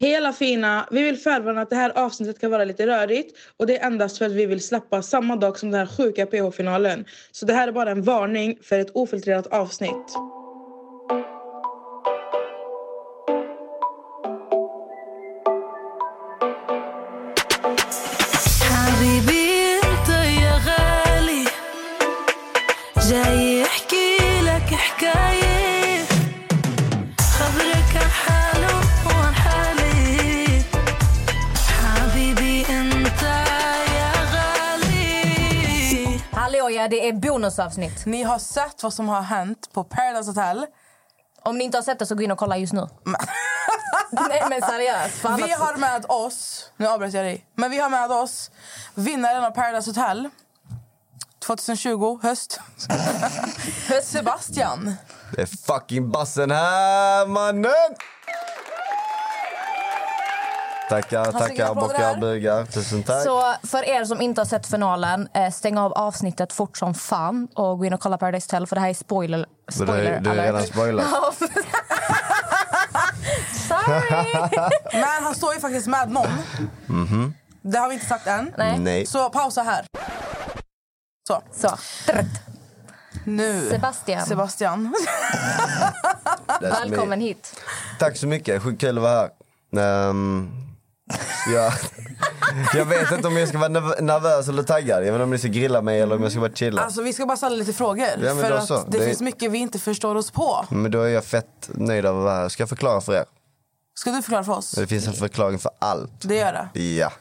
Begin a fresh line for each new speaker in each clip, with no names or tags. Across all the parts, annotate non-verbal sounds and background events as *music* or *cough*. Hela fina, vi vill förvarna att det här avsnittet kan vara lite rörigt och det är endast för att vi vill slappa samma dag som den här sjuka PH-finalen. Så det här är bara en varning för ett ofiltrerat avsnitt.
حبيبي انت يا غالي جاي احكي لك حكاية خبرك عن حاله وعن حالي حبيبي انت يا غالي
Hallå ja, det är bonusavsnitt.
Ni har sett vad som har hänt på Paradise Hotel.
Om ni inte har sett det så gå in och
*laughs*
kolla just nu. Nej men seriöst. För
Vi
annars...
har med oss... Nu avbröt jag dig. Men vi har med oss vinnaren av Paradise Hotel 2020,
*laughs*
höst. Sebastian.
Det är fucking bassen här mannen! Tackar, tackar,
applåder
bockar,
här.
bugar. Tusen tack.
Så för er som inte har sett finalen, eh, stäng av avsnittet fort som fan och gå in och kolla Paradise Hotel för det här är spoiler,
Så
spoiler
du, du är
alert.
redan spoilad.
Sorry!
Men han står ju faktiskt med någon. Det har vi inte sagt än.
*laughs* Nej.
Nej.
Så pausa här. Så,
Så. trött.
nu.
Sebastian,
Sebastian.
Det är som är-
välkommen hit.
Tack så mycket. Sjukt kul att vara här. Ehm,
*laughs*
jag, jag vet inte om jag ska vara nerv- nervös eller taggad. Jag vet inte om ni ska grilla mig eller om jag ska bara
Mm,
chilla.
Alltså, vi ska bara ställa lite frågor.
men
för
då
att
så.
det,
Det-
finns mycket vi inte förstår oss på.
Men då är jag fett nöjd av att vara här. Ska jag förklara för er?
Ska du förklara för oss?
Det finns en förklaring för allt.
Det gör det.
Ja.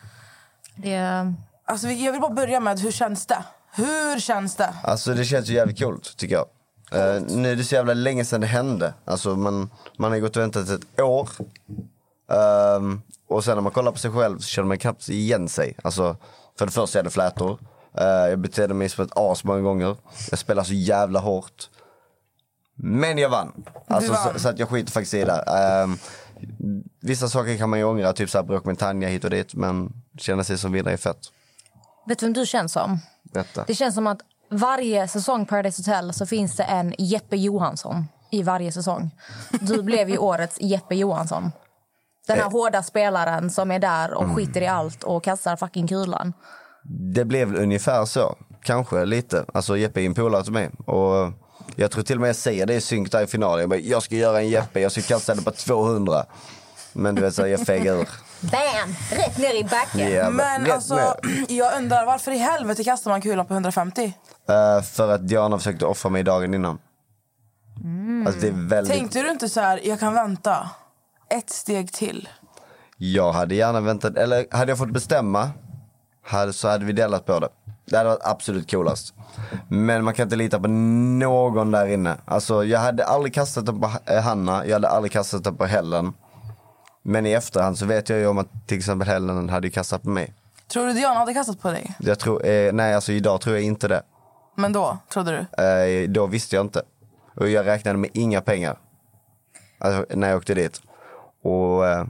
Det är...
Alltså, vi- jag vill bara börja med, hur känns det? Hur känns det?
Alltså det känns ju jävligt coolt tycker jag. Eh, nu är det så jävla länge sedan det hände. Alltså man, man har gått och väntat ett år. Ehm, och sen när man kollar på sig själv så känner man knappt igen sig. Alltså för det första är det flätor. Eh, jag betedde mig som ett as många gånger. Jag spelar så jävla hårt. Men jag vann. Alltså,
vann.
Så, så att jag skiter faktiskt i det. Ehm, vissa saker kan man ju ångra, typ så här bråk med Tanja hit och dit. Men känna sig som vinnare är fett.
Vet du vem du känns som?
Detta.
Det känns som att varje säsong Paradise Hotel så finns det en Jeppe Johansson i varje säsong. Du blev ju årets Jeppe Johansson. Den
Eh.
här hårda spelaren som är där och
Mm.
skiter i allt och kastar fucking kulan.
Det blev väl ungefär så. Kanske lite. Alltså Jeppe är en polare till mig. Och jag tror till och med jag säger det i synk där i finalen. Jag, bara, jag ska göra en Jeppe, jag ska kasta den på 200. Men du vet, så här, jag fegar ur.
Bam! Rätt ner i backen.
Jävlar.
Men
Rätt
alltså,
ner.
*clears throat* jag undrar varför i helvete kastar man kulan på 150?
Eh, för att Diana försökte offra mig dagen innan.
Mm.
Alltså det är väldigt...
Tänkte du inte så här, jag kan vänta ett steg till?
Jag hade gärna väntat, eller hade jag fått bestämma hade, så hade vi delat på det. Det hade varit absolut coolast. Men man kan inte lita på någon där inne. Alltså jag hade aldrig kastat den på eh, Hanna, jag hade aldrig kastat den på Helen. Men i efterhand så vet jag ju om att till exempel Helen hade ju kastat på mig.
Tror du Diana hade kastat på dig?
Jag tror, eh, nej alltså idag tror jag inte det.
Men då, trodde du?
Eh, då visste jag inte. Och jag räknade med inga pengar. Alltså, när jag åkte dit. Och eh,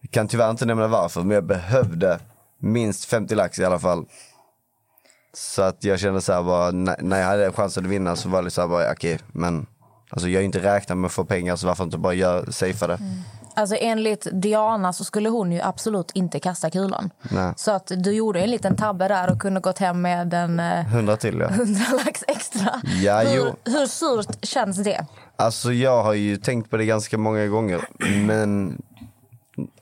jag kan tyvärr inte nämna varför, men jag behövde minst 50 lax i alla fall. Så att jag kände så här bara, när, när jag hade chansen att vinna så var det så här bara, okej, men alltså jag har ju inte räknat med att få pengar så varför inte bara göra, safea det?
Alltså enligt Diana så skulle hon ju absolut inte kasta kulan.
Nej.
Så att du gjorde en liten tabbe där och kunde gått hem med en eh, *laughs*
100 till ja.
100 lax extra.
Ja,
hur,
jo.
hur surt känns det?
Alltså jag har ju tänkt på det ganska många gånger. Men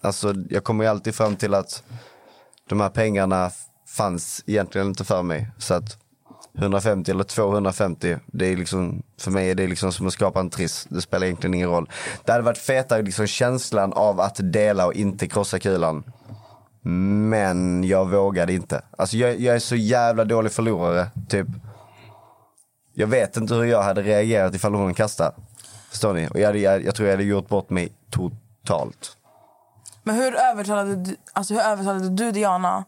alltså, jag kommer ju alltid fram till att de här pengarna fanns egentligen inte för mig. Så att 150 eller 250, det är liksom, för mig är det liksom som att skapa en triss. Det spelar egentligen ingen roll. Det hade varit fetare liksom känslan av att dela och inte krossa kulan. Men jag vågade inte. Alltså jag, jag är så jävla dålig förlorare. Typ. Jag vet inte hur jag hade reagerat ifall hon kastar. Förstår ni? Och jag, hade, jag, jag tror jag hade gjort bort mig totalt.
Men hur övertalade du, alltså, hur övertalade du Diana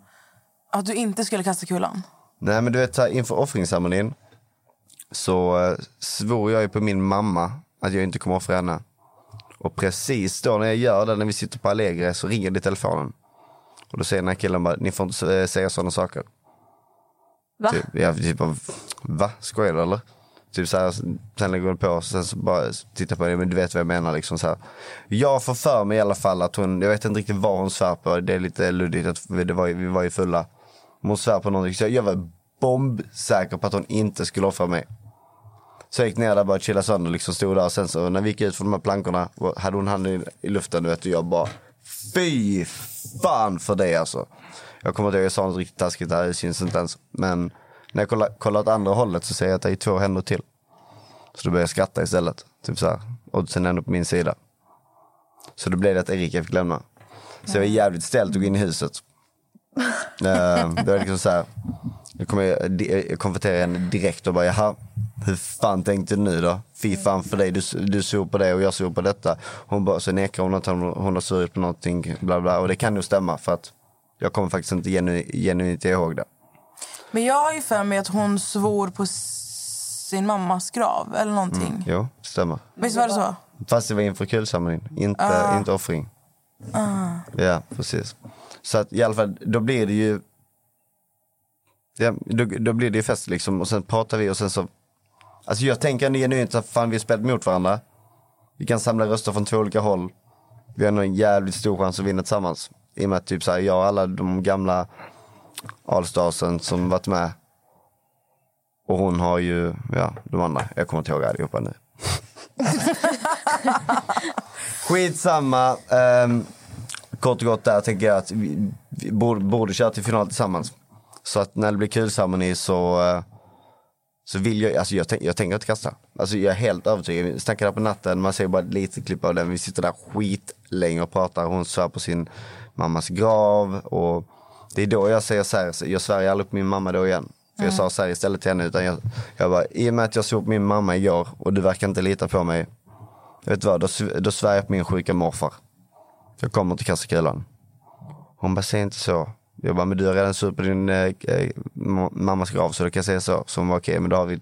att du inte skulle kasta kulan?
Nej men du vet så här, inför offringsceremonin så eh, svor jag ju på min mamma att jag inte kommer offra henne. Och precis då när jag gör det, när vi sitter på Allegre, så ringer det i telefonen. Och då säger den här killen bara, ni får inte eh, säga sådana saker.
Va?
Typ, jag typ bara, va? Skojar du eller? Typ så här, sen lägger hon på och sen så bara tittar på det. Men du vet vad jag menar. Liksom så här. Jag får för mig i alla fall att hon, jag vet inte riktigt vad hon svär på. Det är lite luddigt, att vi, det var, ju- vi var ju fulla. Men hon svär på någonting. Så jag var bombsäker på att hon inte skulle offra mig. Så jag gick ner där och började chilla sönder. Liksom stod där. Och sen så när vi gick ut från de här plankorna och hade hon handen i- i luften. Du vet, och jag bara, fy fan för det alltså. Jag kommer inte ihåg, jag sa något riktigt taskigt där. Det syns inte ens. Men när jag kollar, kollar åt andra hållet så ser jag att det är två händer till. Så då började jag skratta istället. Typ så här. Oddsen är ändå på min sida. Så då blev det att Erika fick lämna. Så jag var jävligt ställd och gå in i huset. Eh, det var liksom så här. Jag, kom, jag, di- jag konfronterade henne direkt och bara jaha, hur fan tänkte du nu då? Fy fan för dig, du, du svor på det och jag svor på detta. Hon bara, så nekar hon att hon, hon har svurit på någonting, bla bla. Och det kan nog stämma för att jag kommer faktiskt inte genu, genuint ihåg det.
Men jag har ju för mig att hon svor på s- sin mammas grav eller någonting.
Jo, det stämmer.
Visst var det så?
Fast det var inför kulsamlingen, inte, inte offring. Ja, precis. Så att i alla fall, då blir det ju... Ja, då, då blir det ju fest liksom och sen pratar vi och sen så... Alltså jag tänker ändå genuint att fan vi har spelat mot varandra. Vi kan samla röster från två olika håll. Vi har nog en jävligt stor chans att vinna tillsammans. I och med att typ så här, jag och alla de gamla Allstarsen som varit med. Och hon har ju, ja, de andra. Jag kommer inte ihåg allihopa nu. Skitsamma. Um, kort och gott där tänker jag att vi, vi borde, borde köra till final tillsammans. Så att när det blir kulceremoni så, eh, så vill jag, alltså jag, tänk, jag tänker inte kasta. Alltså jag är helt övertygad. Vi snackar där på natten, man ser bara ett litet klipp av den. Vi sitter där skitlänge och pratar. Hon svär på sin mammas grav. Och det är då jag säger så här, så jag svär ju aldrig på min mamma då igen. För jag sa så här istället till henne. Utan jag, jag bara, i och med att jag svor på min mamma igår och du verkar inte lita på mig. Vet du vad, då, sv- då svär jag på min sjuka morfar. Jag kommer till kasta kulan. Hon bara, säg inte så. Jag bara, men du har redan surt på din eh, eh, ma- mammas grav så du kan säga så. Så hon bara, okej, men då har vi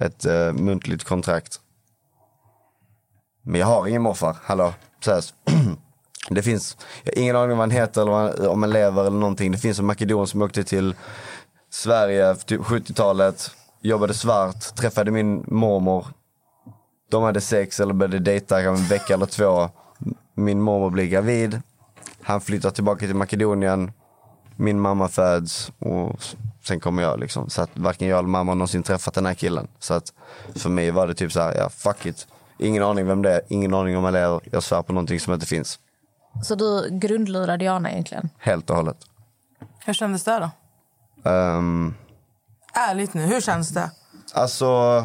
ett eh, muntligt kontrakt. Men jag har ingen morfar, hallå. Så här, *clears throat* det finns, jag har ingen aning om vad han heter eller vad han- om han lever eller någonting. Det finns en makedon som åkte till Sverige typ 70-talet, jobbade svart, träffade min mormor. De hade sex eller började dejta kanske en vecka eller två. Min mormor blir gravid. Han flyttar tillbaka till Makedonien. Min mamma föds och sen kommer jag. Liksom. Så att varken jag eller mamma har någonsin träffat den här killen. Så att för mig var det typ så här, ja fuck it. Ingen aning vem det är, ingen aning om han lever. Jag svär på någonting som inte finns.
Så du grundlurade Jana egentligen?
Helt och hållet.
Hur kändes det då?
Um,
Ärligt nu, hur känns det?
alltså,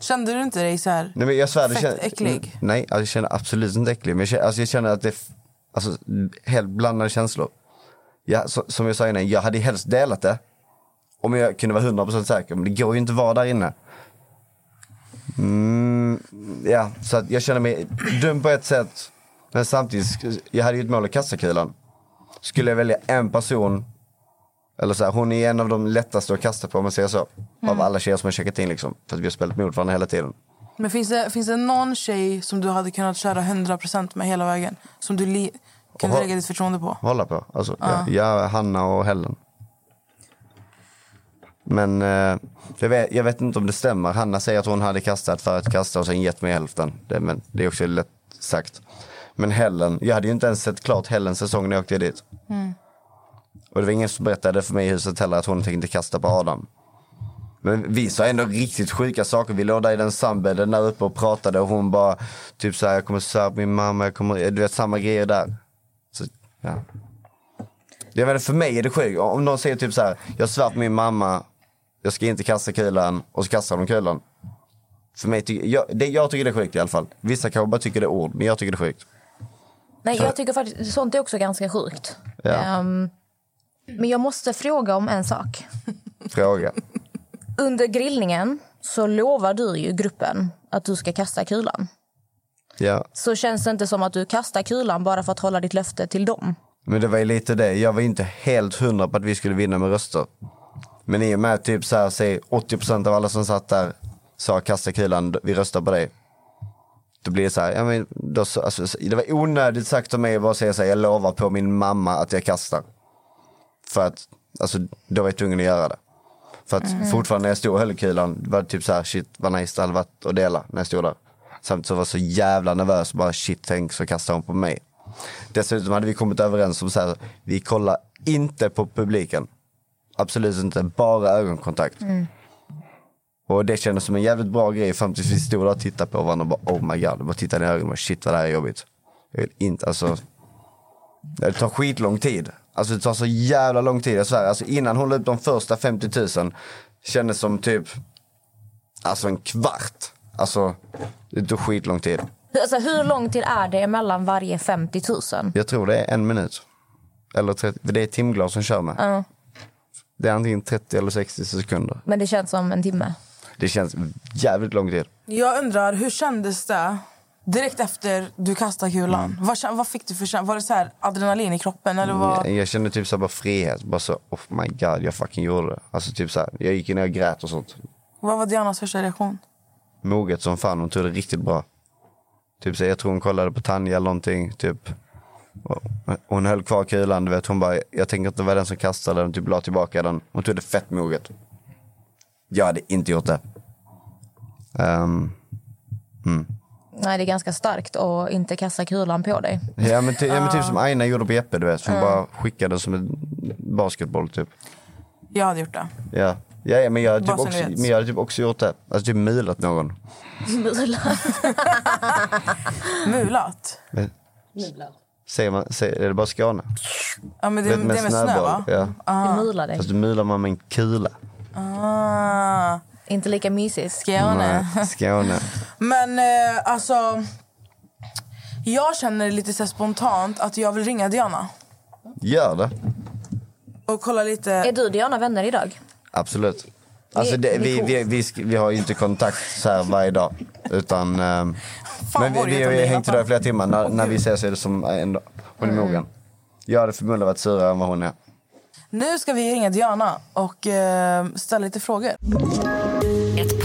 Kände du inte dig så här?
Nej, men jag svär, det
Fett
kän-
äcklig.
Nej, alltså, jag känner absolut inte äcklig. Men jag känner, alltså, jag känner att det är f- alltså, helt blandade känslor. Ja, så, som jag sa innan, jag hade helst delat det. Om jag kunde vara 100% säker. Men det går ju inte att vara där inne. Mm, ja, så att jag känner mig dum på ett sätt. Men samtidigt, sk- jag hade ju ett mål att kasta kulan. Skulle jag välja en person. Eller så här, hon är en av de lättaste att kasta på om man säger så. Av alla tjejer som har checkat in liksom. För att vi har spelat mot varandra hela tiden.
Men finns det, finns det någon tjej som du hade kunnat köra 100% med hela vägen? Som du li- kunde
Oha.
lägga ditt förtroende på?
hålla på. Alltså, jag, jag, Hanna och Helen. Men eh, jag, vet, jag vet inte om det stämmer. Hanna säger att hon hade kastat för att kasta och sen gett mig hälften. Det, men det är också lätt sagt. Men Helen, jag hade ju inte ens sett klart Helens säsong när jag åkte dit. Och det var ingen som berättade för mig i huset heller att hon tänkte kasta på Adam. Men vi sa ändå riktigt sjuka saker. Vi låg där i den sandbädden där uppe och pratade och hon bara typ så här, jag kommer svära på min mamma, jag kommer, du vet samma grejer där. Så, ja. Jag menar, för mig är det sjukt. Om någon säger typ så här, jag svär på min mamma, jag ska inte kasta kulan och så kastar de kulan. För mig, ty- jag, det, jag tycker det är sjukt i alla fall. Vissa kanske bara tycker det är ord, men jag tycker det är sjukt.
Nej, jag tycker faktiskt sånt är också ganska sjukt.
Ja.
Ehm, men jag måste fråga om en sak.
Fråga.
Under grillningen så lovar du ju gruppen att du ska kasta kulan.
Ja.
Så känns det inte som att du kastar kulan bara för att hålla ditt löfte till dem.
Men det var ju lite det. Jag var ju inte helt hundra på att vi skulle vinna med röster. Men i och med att typ så här, säg 80 av alla som satt där sa kasta kulan, vi röstar på dig. Då blir det så här, ja, men, då, så- alltså, så- det var onödigt sagt av mig att bara säga så här, jag lovar på min mamma att jag kastar. För att, alltså då var jag tvungen att göra det. För att fortfarande när jag stod och höll i kulan var det typ så här, shit vad nice det hade varit att dela när jag stod där. Samtidigt så var jag så jävla nervös, bara shit tänk så kastar hon på mig. Dessutom hade vi kommit överens om så här, vi kollar inte på publiken. Absolut inte, bara ögonkontakt. Och det kändes som en jävligt bra grej fram tills vi stod där och tittade på varandra och bara oh my god, bara tittade i ögonen och bara shit vad det här är jobbigt. Jag vill inte, alltså. Det tar skitlång tid. Alltså det tar så jävla lång tid, jag svär. Alltså innan hon la upp de första 50 000 kändes som typ, alltså en kvart. Alltså det tog skitlång tid.
Alltså, hur lång tid är det mellan varje 50 000?
Jag tror det är en minut. Eller 30, för det är timglas som kör med. Det är antingen 30 eller 60 sekunder.
Men det känns som en timme.
Det känns jävligt lång tid.
Jag undrar, hur kändes det direkt efter du kastade kulan? Vad, kä- vad fick du för känsla? Var det så här adrenalin i kroppen? Eller vad?
Jag, jag kände typ så här bara frihet. Bara så, oh my god, jag fucking gjorde det. Alltså typ så här, jag gick in och jag grät och sånt.
vad var Dianas första reaktion?
Moget som fan, hon tog det riktigt bra. Typ så här, jag tror hon kollade på Tanja eller någonting, typ. Och Hon höll kvar kulan, du vet. Hon bara, jag tänker inte vara den som kastade den. Typ la tillbaka den. Hon tog det fett moget. Jag hade inte gjort det. Ehm,
Nej, det är ganska starkt att inte kasta kulan på dig. *laughs*
ja, men ty, ja men typ
Ah.
som Aina gjorde på Jeppe, du vet. Hon bara skickade den som en basketboll typ.
Jag hade gjort det.
Ja, ja, ja men, jag hade
Bara
typ
så
också,
ni vet.
men jag hade typ också gjort det. Alltså typ milat någon.
Mulat?
Men- Säger man, säger, är det bara Skåne?
Ja, men det, det är med snö, va?
Ja.
*laughs* Du mular dig.
Fast då mular man med en kula.
Ah,
Inte lika mysigt.
Skåne.
Nej, Mm. Skåne.
Men eh, alltså... Jag känner lite så här spontant att jag vill ringa Diana
Gör det.
och kolla
Är
lite.
du och Diana vänner idag?
Absolut. Alltså det, vi, vi, vi, sk- vi har ju inte kontakt så här varje dag. Utan, ehm,
Fan,
men
vad
vi, vi
det
har ju
heter
hängt
om
idag
det,
i flera timmar. När, när vi ses är det som en dag. Hon
Mm.
är mogen. Jag hade förmodligen varit surare än vad hon är.
Nu ska vi ringa Diana och eh, ställa lite frågor.
Ett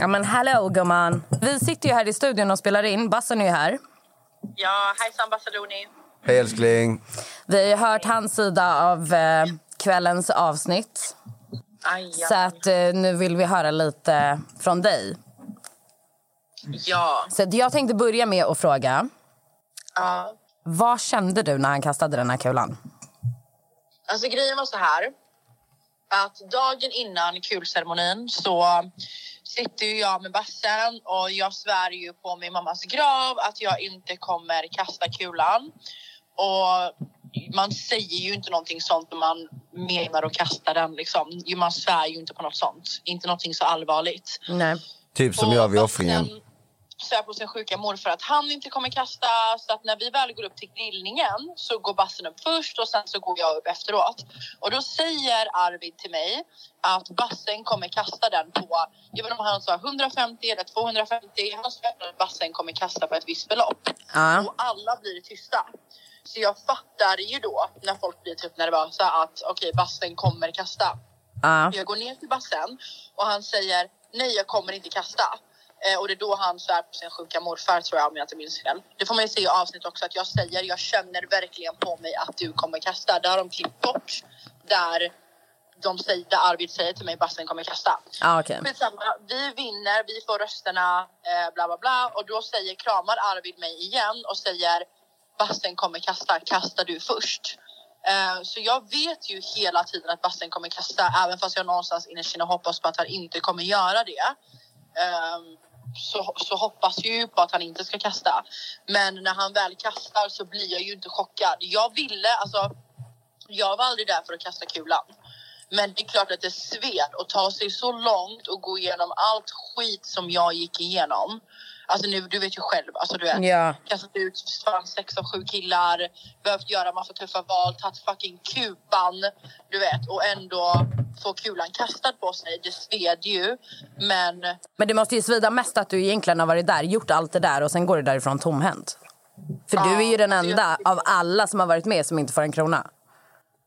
Ja, men hallå, gumman. Vi sitter ju här i studion och spelar in. Bassen är ju här.
Ja, hejsan Bassadoni.
Hej älskling.
Vi har ju hört hans sida av eh, kvällens avsnitt.
Aj,
Så
ja.
att, eh, nu vill vi höra lite från dig.
Ja.
Så att jag tänkte börja med att fråga.
ja.
Vad kände du när han kastade den här kulan?
Alltså grejen var så här. Att dagen innan kulceremonin så sitter ju jag med bassen och jag svär ju på min mammas grav att jag inte kommer kasta kulan. Och man säger ju inte någonting sånt när man menar att kasta den liksom. Ju- Man svär ju inte på något sånt. Inte någonting så allvarligt.
Nej.
Typ som
Och
jag vid
sen
offringen.
Svär på sin sjuka mor för att han inte kommer kasta. Så att när vi väl går upp till grillningen så går bassen upp först och sen så går jag upp efteråt. Och då säger Arvid till mig att bassen kommer kasta den på, jag vet inte om han sa 150 eller 250. Han sa att bassen kommer kasta på ett visst belopp.
Ja.
Och alla blir tysta. Så jag fattar ju då när folk blir typ nervösa att okej, bassen kommer kasta.
Ja.
Och Jag går ner till bassen och han säger nej, jag kommer inte kasta. Eh, och det är då han svär på sin sjuka morfar tror jag om jag inte minns fel. Det får man ju se i avsnitt också att jag säger jag känner verkligen på mig att du kommer kasta. Där har de klippt bort där de säger, där Arvid säger till mig bassen kommer kasta.
Ja, Ah, okej.
Skitsamma, vi vinner, vi får rösterna, eh, bla bla bla. Och då säger, kramar Arvid mig igen och säger bassen kommer kasta, kasta du först. Eh, så jag vet ju hela tiden att bassen kommer kasta även fast jag någonstans innerst inne hoppas på att han inte kommer göra det. Ehm, så, så hoppas jag ju på att han inte ska kasta. Men när han väl kastar så blir jag ju inte chockad. Jag ville, alltså jag var aldrig där för att kasta kulan. Men det är klart att det sved att ta sig så långt och gå igenom allt skit som jag gick igenom. Alltså nu, du vet ju själv. Alltså du vet.
Ja.
Kastat ut fan sex av sju killar. Behövt göra massa tuffa val. Tagit fucking kupan. Du vet. Och ändå få kulan kastad på sig. Det sved ju. Men
Men det måste ju svida mest att du egentligen har varit där, gjort allt det där och sen går du därifrån tomhänt. För
Ja,
du är ju den
alltså jag-
enda av alla som har varit med som inte får en krona.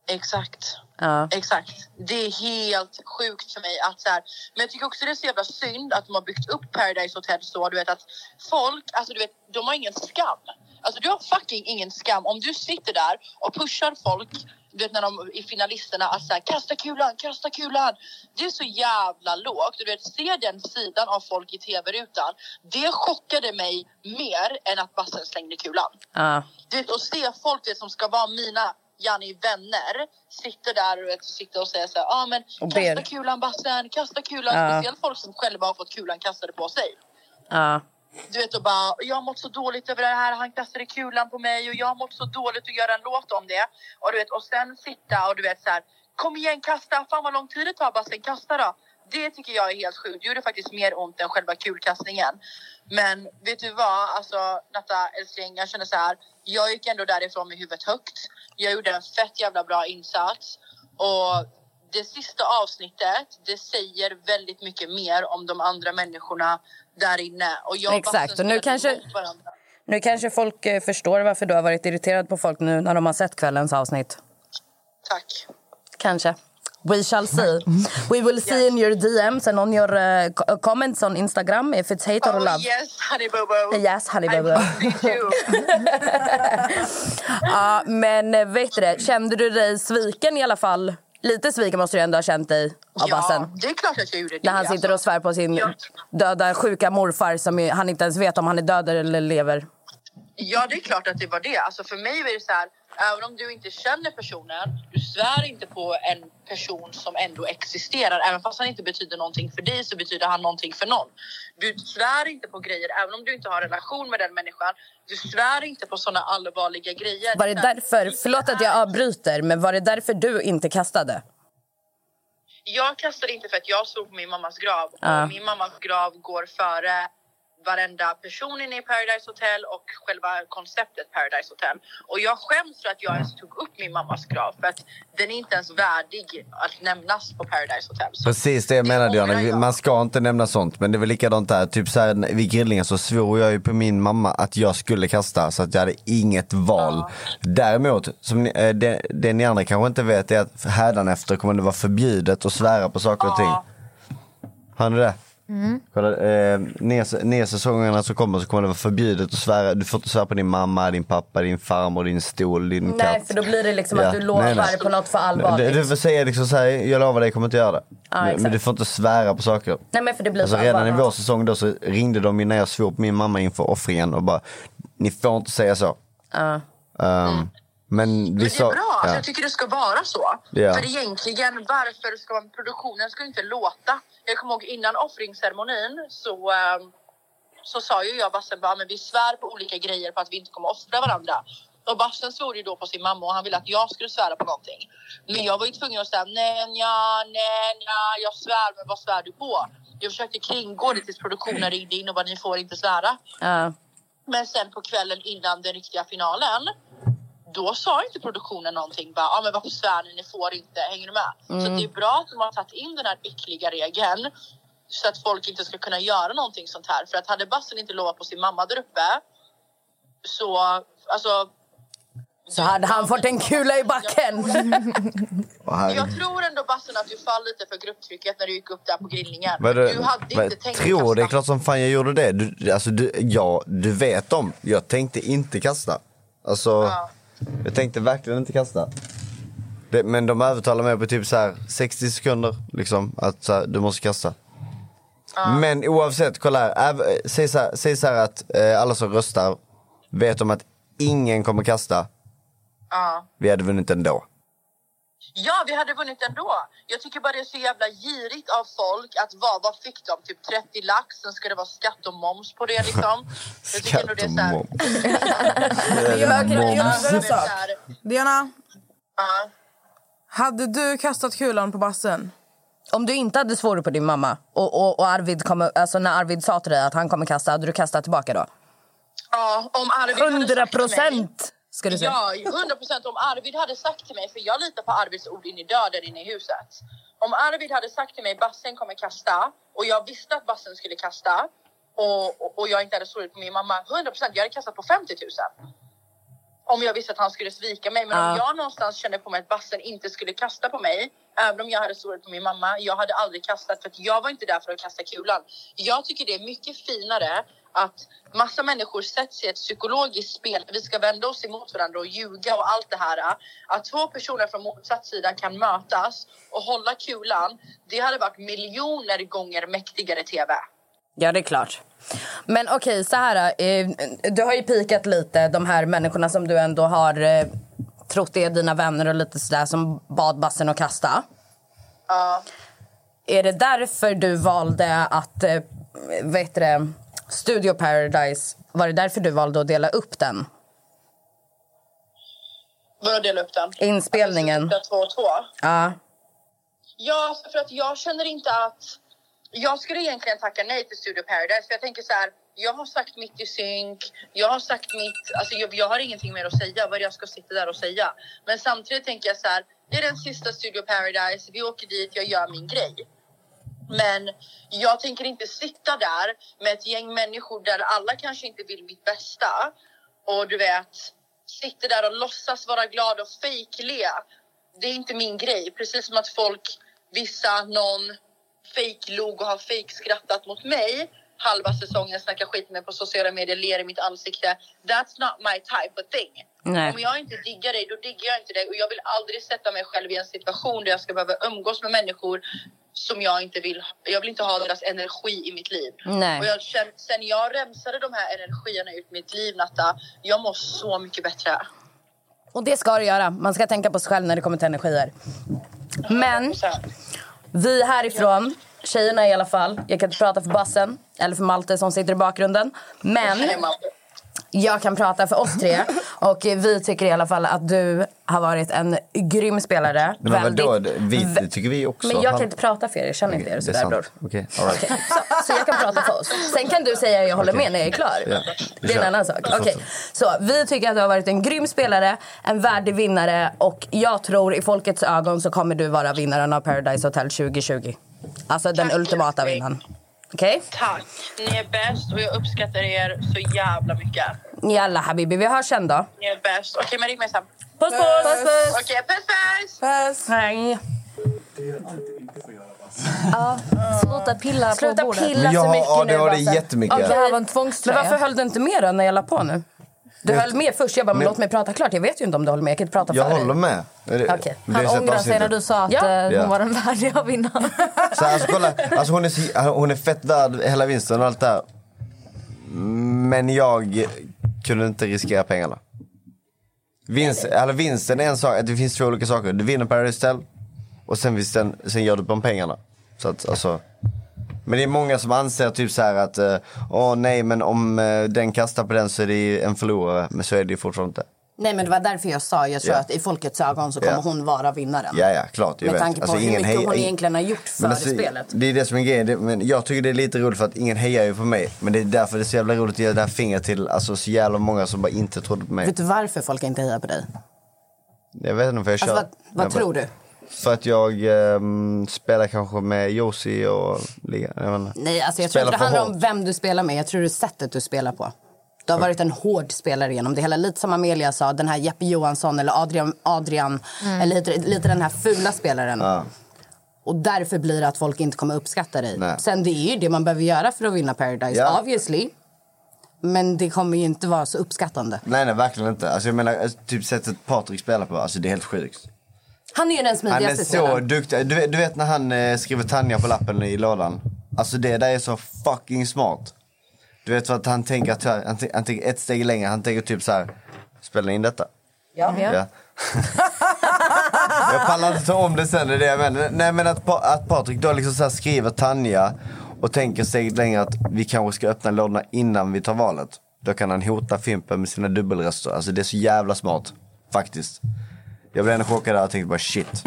exakt.
Ja.
Exakt. Det är helt sjukt för mig att så här. Men jag tycker också det är så jävla synd att de har byggt upp Paradise Hotel så. Du vet att folk, alltså du vet, de har ingen skam. Alltså du har fucking ingen skam. Om du sitter där och pushar folk, du vet när de i finalisterna att så här, kasta kulan, kasta kulan. Det är så jävla lågt. Och Du vet, se den sidan av folk i tv-rutan. Det chockade mig mer än att Bassen slängde kulan.
Ja.
Du vet, och se folk du vet, som ska vara mina Janni vänner sitter där och, vet, sitter och säger så här, ah, men
Och ber.
kasta kulan Bassen, kasta kulan.
Ja.
Speciellt folk som själva har fått kulan kastade på sig.
Ja.
Du vet och bara, jag har mått så dåligt över det här, han kastade kulan på mig och jag har mått så dåligt att göra en låt om det. Och du vet, och sen sitta och du vet så här, kom igen kasta, fan vad lång tid det tar Bassen, kasta då. Det tycker jag är helt sjukt, det gjorde faktiskt mer ont än själva kulkastningen. Men vet du vad, alltså Natta älskling, jag känner så här, jag gick ändå därifrån med huvudet högt. Jag gjorde en fett jävla bra insats. Och det sista avsnittet, det säger väldigt mycket mer om de andra människorna där inne. Och jag och
Exakt, och
Bassen
nu
spelade
kanske-
emot varandra.
Nu kanske folk eh, förstår varför du har varit irriterad på folk nu när de har sett kvällens avsnitt.
Tack.
Kanske. We shall see. We will see in your DMs and on your eh, co- comments on Instagram if it's hate or
Oh,
love.
yes, honey bobo.
Yes, honey boo boo. *laughs*
Me too.
Ja, men eh, vet du det, kände du dig sviken i alla fall? Lite sviken måste du ändå ha känt dig av
ja,
Bassen.
det är klart att jag gjorde det. alltså.
När han sitter och svär på sin
Ja.
döda sjuka morfar som ju, han inte ens vet om han är död eller lever.
Ja, det är klart att det var det. Alltså för mig är det så här, även om du inte känner personen, du svär inte på en person som ändå existerar. Även fast han inte betyder någonting för dig så betyder han någonting för någon. Du svär inte på grejer, även om du inte har en relation med den människan. Du svär inte på sådana allvarliga grejer.
Var det därför, förlåt att jag avbryter, men var det därför du inte kastade?
Jag kastade inte för att jag såg på min mammas grav.
Ja.
Och min mammas grav går före varenda person inne i Paradise Hotel och själva konceptet Paradise Hotel. Och jag skäms för att jag ens tog upp min mammas grav för att den är inte ens värdig att nämnas på Paradise Hotel. Så
Precis det jag menade
ångrar
Johanna,
jag.
man ska inte nämna sånt. Men det är väl likadant där, typ så här, när- vid grillningen så svor jag ju på min mamma att jag skulle kasta så att jag hade inget val. Däremot, som ni, eh, det, det ni andra kanske inte vet är att hädanefter kommer det vara förbjudet att svära på saker och ting. Hör ni det? Kolla, eh, ner, ner säsongerna som kommer så kommer det vara förbjudet att svära. Du får inte svära på din mamma, din pappa, din farmor, din stol, din katt.
Nej, för då blir det liksom
Ja,
att du lovar
nej, nej.
på något för
Du,
allvarligt.
du får säga liksom så här, jag lovar dig jag kommer inte göra det. Men- men
exakt.
du får inte svära på saker.
Nej, men för det blir
Alltså
för
redan i
allvarligt.
vår säsong då så ringde de ju när jag svor på min mamma inför offringen och bara, ni får inte säga så. Ehm, men vi
Men det är
sa...
bra, alltså,
ja.
jag tycker det ska vara så.
Ja.
För egentligen, varför ska man, produktionen ska ju inte låta. Jag kommer ihåg innan offringsceremonin så, ehm, så sa ju jag och Bassen bara, men vi svär på olika grejer för att vi inte kommer offra varandra. Och Bassen svor ju då på sin mamma och han ville att jag skulle svära på någonting. Men jag var ju tvungen att säga nej, nja, nej, nja, jag svär, men vad svär du på? Jag försökte kringgå det tills produktionen ringde in och bara, ni får inte svära.
Ja.
Men sen på kvällen innan den riktiga finalen då sa inte produktionen någonting. Bara, ah, men varför svär ni? Ni får inte. Hänger du med?
Mm.
Så det är bra att de har tagit in den här äckliga regeln så att folk inte ska kunna göra någonting sånt här. För att hade Bassen inte lovat på sin mamma där uppe så alltså.
Så hade han fått en kula i backen.
Och här-
Jag tror ändå Bassen att du fall lite för grupptrycket när du gick upp där på grillningen.
Vad är det-
du hade
vad-
inte tänkt
Tror det är
kasta.
klart som fan jag gjorde det. Du, alltså du, ja, du vet om. Jag tänkte inte kasta. Alltså, jag tänkte verkligen inte kasta. Det, men de övertalade mig på typ så här 60 sekunder, liksom, att så här, du måste kasta. Men oavsett, kolla här. Äv- eh, Säg så här, säg så här att eh, alla som röstar vet om att ingen kommer kasta.
Ja.
Vi hade vunnit ändå.
Ja, vi hade vunnit ändå. Jag tycker bara det är så jävla girigt av folk att vad, vad fick de? Typ 30 lax, sen ska det vara skatt och moms på
*laughs*
det liksom. Jag tycker
Skatt
ändå det är
och
så här,
moms.
Jag kan
Moms.
göra
det är
en
så
sak.
här,
Diana,
ja.
hade du kastat kulan på bassen?
Om du inte hade svurit på din mamma och, och, och Arvid kommer, alltså när Arvid sa till dig att han kommer kasta, hade du kastat tillbaka då?
Ja, om Arvid hade
100
sagt till mig-
procent! Ska du säga.
Ja, 100 procent. Om Arvid hade sagt till mig, för jag litar på Arvids ord in i döden inne i huset. Om Arvid hade sagt till mig bassen kommer kasta och jag visste att bassen skulle kasta och, och, och jag inte hade svurit på min mamma, 100 procent. Jag hade kastat på 50 000. Om jag visste att han skulle svika mig. Men om
Ja.
jag någonstans kände på mig att bassen inte skulle kasta på mig, även om jag hade svurit på min mamma, jag hade aldrig kastat för att jag var inte där för att kasta kulan. Jag tycker det är mycket finare att massa människor sätts i ett psykologiskt spel. Vi ska vända oss emot varandra och ljuga och allt det här. Att två personer från motsatt sida kan mötas och hålla kulan. Det hade varit miljoner gånger mäktigare TV.
Ja, det är klart. Men okej, så här. eh, Du har ju pikat lite, de här människorna som du ändå har eh, trott är dina vänner och lite sådär som bad bassen att kasta.
Ja.
Är det därför du valde att, eh, vad heter det, Studio Paradise, var det därför du valde att dela upp den?
Vadå dela upp den?
Inspelningen.
Alltså, två och två.
Ja.
Ja, för att jag känner inte att... Jag skulle egentligen tacka nej till Studio Paradise. För jag tänker så här, jag har sagt mitt i synk. Jag har sagt mitt... Alltså jag, jag har ingenting mer att säga. Vad är det jag ska sitta där och säga? Men samtidigt tänker jag så här, det är den sista Studio Paradise. Vi åker dit, jag gör min grej. Men jag tänker inte sitta där med ett gäng människor där alla kanske inte vill mitt bästa. Och du vet, sitter där och låtsas vara glad och fejkle. Det är inte min grej. Precis som att folk, vissa, någon fejklog och har fejkskrattat mot mig halva säsongen, snackar skit med mig på sociala medier, ler i mitt ansikte. That's not my type of thing.
Nej.
Om jag inte diggar dig, då diggar jag inte dig. Och jag vill aldrig sätta mig själv i en situation där jag ska behöva umgås med människor som jag inte vill. Jag vill inte ha deras energi i mitt liv.
Nej.
Och jag känner, sen jag rensade de här energierna ut mitt liv, Natta, jag mår så mycket bättre.
Och det ska du göra. Man ska tänka på sig själv när det kommer till energier. Men vi härifrån, tjejerna i alla fall, jag kan inte prata för bassen eller för Malte som sitter i bakgrunden. Men jag kan prata för oss tre och eh, vi tycker i alla fall att du har varit en grym spelare.
Men vadå,
Väldigt-
det- vi, det tycker vi också.
Men jag
Han-
kan inte prata för er, jag känner inte er
Det är
sådär bror.
sant. Okej, all right.
Så, så jag kan prata för oss. Sen kan du säga jag håller
Okej.
med när jag är klar.
Ja, vi
Det är en
kör.
annan sak.
Jag
Okej.
fattar.
Så vi tycker att du har varit en grym spelare, en värdig vinnare och jag tror i folkets ögon så kommer du vara vinnaren av Paradise Hotel 2020. Alltså den ultimata vinnaren. Okej?
Tack! Ni är bäst och jag uppskattar er så jävla mycket.
Jalla habibi, vi hörs sen då.
Ni är bäst. Okej, men ring mig sen.
Puss puss! puss.
Okej, puss puss!
Puss!
Hej. Ja, sluta pilla
Sluta
på bordet.
pilla
Men jag så har mycket nu, ADHD Basse. jättemycket.
Okej,
Det
här var en tvångströja.
Men varför höll du inte med då när jag la på nu? Du höll med först. Jag bara, men låt mig prata klart. Jag vet ju inte om du håller med. Jag kan inte prata
Jag
för dig.
håller med. Det-
Okej.
det är
Han
så
ångrar sig
avsnittet.
när du sa att
Ja.
eh,
Ja.
hon var den värdiga vinnaren.
Så alltså, kolla, alltså, hon, är, så- hon är fett värd hela vinsten och allt det här. Men jag kunde inte riskera pengarna. Vinst, eller vinsten är en sak, att det finns två olika saker. Du vinner Paradise Hotel och sen, visst, sen, sen gör du på pengarna. Så att, alltså, men det är många som anser typ så här att eh, åh nej men om eh, den kastar på den så är det ju en förlorare. Men så är det ju fortfarande inte.
*laughs* Nej, men det var därför jag sa jag tror
Ja.
att i folkets ögon så kommer
Ja.
hon vara vinnaren.
Ja, ja, klart. Jag
Med
vet.
tanke på
Alltså,
hur
ingen
mycket
hej-
hon egentligen har gjort för
Men alltså,
spelet.
Det är det som är grejen. Det- Men jag tycker det är lite roligt för att ingen hejar ju på mig. Men det är därför det är så jävla roligt att ge det här fingret till alltså, så jävla många som bara inte trodde på mig.
Vet du varför folk inte hejar på dig?
Jag vet inte för jag
Alltså,
kör.
vad vad
jag bara-
tror du?
För att jag ehm, spelar kanske med Josie och Liga. Jag vet inte.
Nej, alltså, jag tror
Spelar
inte det
för
handlar
hårt.
om vem du spelar med. Jag tror det är sättet du spelar på. Du har varit en hård spelare genom det hela. Lite som Amelia sa, den här Jeppe Johansson eller Adrian, Adrian eller lite, lite den här fula spelaren. Och därför blir det att folk inte kommer uppskatta dig.
Nej.
Sen det är ju det man behöver göra för att vinna Paradise,
Ja.
obviously. Men det kommer ju inte vara så uppskattande.
Nej, nej, verkligen inte. Alltså, jag menar, alltså, typ sättet Patrik spelar på, alltså, det är helt sjukt.
Han är ju den
Han är
smidigaste
så
spelaren.
duktig. Du, vet- du vet när han eh, skriver Tanja på lappen i lådan? Alltså det där är så fucking smart. Du vet för att han tänker, att, han, tänker- han tänker ett steg längre. Han tänker typ så här. Spelar in detta?
Ja.
Ja. jag pallar inte ta om det sen, det är det jag menar. Nej men att, pa- att Patrik då liksom så här skriver Tanja och tänker steget längre att vi kanske ska öppna lådorna innan vi tar valet. Då kan han hota Fimpen med sina dubbelröster. Alltså det är så jävla smart. Faktiskt. Jag blev ändå chockad där och tänkte bara shit.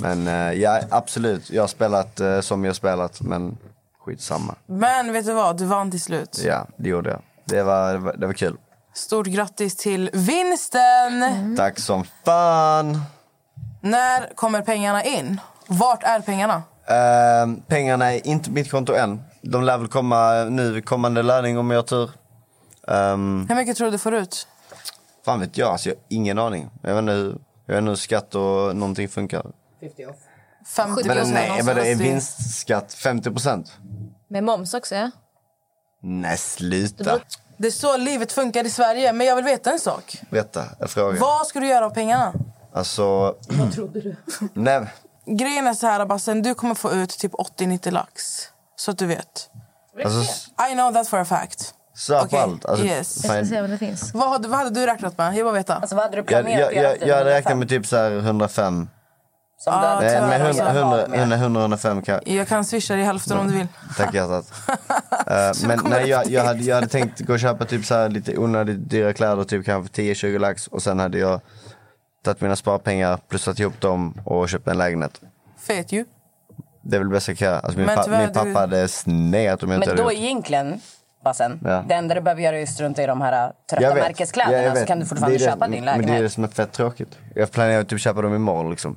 Men eh, ja, absolut. Jag har spelat eh, som jag spelat, men skitsamma.
Men vet du vad? Du vann till slut.
Ja, det gjorde jag. Det var, det var, det var kul.
Stort grattis till vinsten!
Mm.
Tack som fan!
När kommer pengarna in? Vart är pengarna?
Eh, pengarna är inte på mitt konto än. De lär väl komma nu vid kommande löning om jag har tur. Ehm,
Hur mycket tror du du får ut?
fan vet jag, alltså, jag har ingen aning. Jag vet inte hur, jag vet inte hur skatt och någonting funkar.
50 off.
50
Men, nej, men det är
någonstans.
vinstskatt 50 procent?
Med moms också, ja.
Nej, sluta.
Det är så livet funkar i Sverige. Men jag vill veta en sak.
Vänta, jag frågar.
Vad ska du göra av pengarna?
Alltså...
Vad trodde du?
nej,
Grejen är så här, Bassen, du kommer få ut typ 80-90 lax. Så att du vet.
alltså s-
I know that for a fact.
sök på
Okej,
allt. Alltså,
yes.
fan,
om det finns.
Vad hade, vad hade du räknat med? Jag bara veta.
Alltså, vad hade du
jag,
planerat
jag, jag, jag
hade
räknar med typ så här 105.
Som du hade
nej,
planerat
men 100,
att göra av
100,
med.
100, 105 kan
Ah, Jag kan swisha dig hälften om du vill.
Tack hjärtat.
*laughs*
Eh, men
kommer
nej, jag,
det
jag, hade, jag hade tänkt gå och köpa typ så här lite onödigt dyra kläder, typ kanske 10-20 lax. Och sen hade jag tagit mina sparpengar, plussat ihop dem och köpt en lägenhet.
Fet ju.
Det är väl det bästa jag kan göra. Alltså, min,
Men
pa-
tyvärr,
min pappa
du-
hade sneat om jag inte
Men då
hade gjort
egentligen, Bassen,
Ja.
det enda du behöver göra är att strunta i de här äh,
Jag
trötta
vet.
märkeskläderna
Jag
så
vet.
kan du fortfarande
Det är det-
köpa din
Men det är
lägenhet.
det som är fett tråkigt. Jag planerar att typ köpa dem imorgon liksom.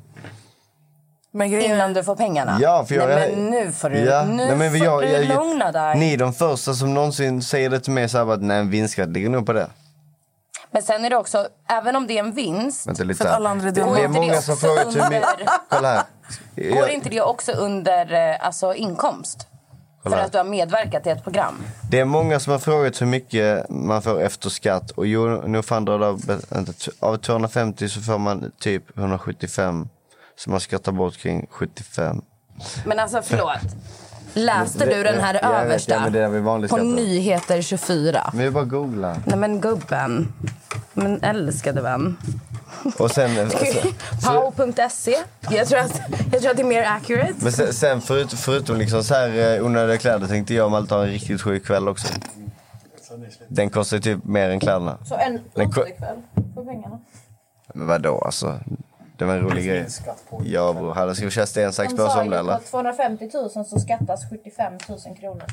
Innan du får pengarna.
Ja, för jag,
Nej, men nu får du,
Ja.
nu
Nej, men
får
jag-
du
jag- jag-
lugna dig.
Ni är de första som någonsin säger det till mig så här, att nej, en vinstskatt ligger nog på det.
Men sen är det också, även om det är en vinst.
Vänta lite
för att
här.
alla andra är
det,
dumma.
det
Går
är
inte
många
det
som
också
frågat hur mycket...
under-
Kolla här.
Går
Jag,
inte det också under eh, alltså, inkomst?
Kolla här.
För att du har medverkat i ett program.
det är många som har frågat hur mycket man får efter skatt. Och jo, nog fan drar det av, vänta, t- av 250 så får man typ 175. Så man ska ta bort kring 75.
Men alltså förlåt. Läste
Det-
du den här
jag vet,
översta
ja, men det där med vanlig
på
skatt då.
Nyheter 24?
Men jag bara googla.
Nej men gubben. Men älskade vän. *laughs*
Och sen...
Pow.se. Jag, tror att- jag tror att det är mer accurate.
Men sen, sen förut, förutom liksom så här eh, onödiga kläder tänkte jag och Malte ha en riktigt sjuk kväll också. Den kostar ju typ mer än kläderna.
Så en
Den ko-
kväll för pengarna.
Men vadå alltså? Det var en rolig grej. Ja bror, hade ska vi köra sten, sax, påse om det eller?
250 000 så skattas 75 000 kronor.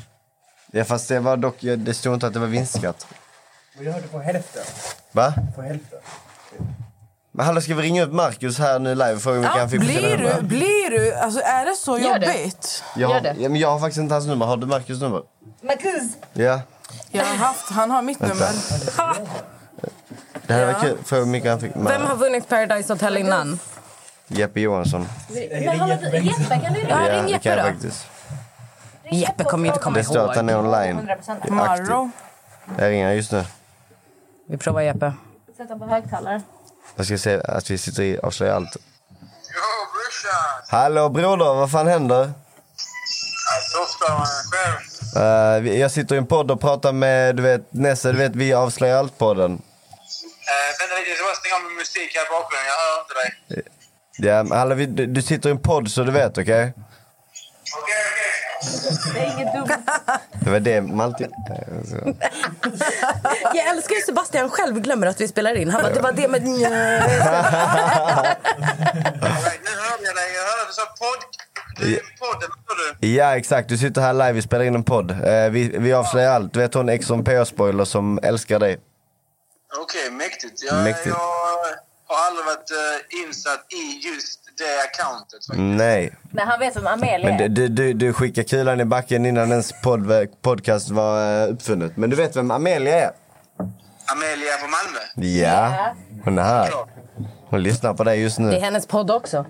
Ja fast det var dock, ja, det stod inte att det var vinstskatt.
Och jag hörde på hälften.
Va?
På hälften.
Men hallå ska vi ringa upp Marcus här nu live och fråga om vi
Ja,
kan fixa
blir
det?
du, blir du, alltså är det så
Gör det.
jobbigt?
Jag har, ja, men jag har faktiskt inte hans nummer, har du Marcus nummer?
Marcus!
Ja,
Jag har haft, han har mitt
Vänta.
nummer.
det här var kul. Fråga hur mycket han fick.
Vem har vunnit Paradise Hotel innan?
Jeppe Johansson.
Men hallå, Jeppe, kan du
Ja,
ring
det kan
Jeppe
jag
då.
faktiskt.
Jeppe kommer ju inte komma
Det står
ihåg.
att han är online.
100%.
Det är aktiv.
Maro.
Jag ringer just nu.
Vi provar Jeppe.
Sätt dem på högtalare.
Jag ska se att vi sitter i avslöjar allt. Hallå broder, vad fan händer? Eh, vi- jag sitter i en podd och pratar med, du vet, Nesse, du vet, vi avslöjar allt-podden.
Eh, Vänta lite, jag ska bara stänga av min musik här i bakgrunden. Jag hör inte dig.
Ja, men hallå, vi, du, du sitter i en podd så du vet, okej?
Det är inget dumt.
Det var det Malte...
Jag älskar ju Sebastian själv glömmer att vi spelar in. Han bara, det var det med...
Nu hörde jag dig. Jag hörde att du sa podd. Du är en podden, hörde du?
Ja, exakt. Du sitter här live, vi spelar in en podd. Eh, vi, vi avslöjar allt. Du vet hon Exxon P-spoiler som älskar dig?
Okej, mäktigt. Jag,
Mäktigt.
jag har aldrig varit eh, insatt i just det accountet.
Nej.
Men han vet vem Amelia
Men
är.
du, du, du, du skickar kulan i backen innan ens podd, podcast var eh, uppfunnet. Men du vet vem Amelia är?
Amelia från Malmö.
Mm. Ja, hon är här. Hon lyssnar på dig just
Det är
nu.
hennes podd också.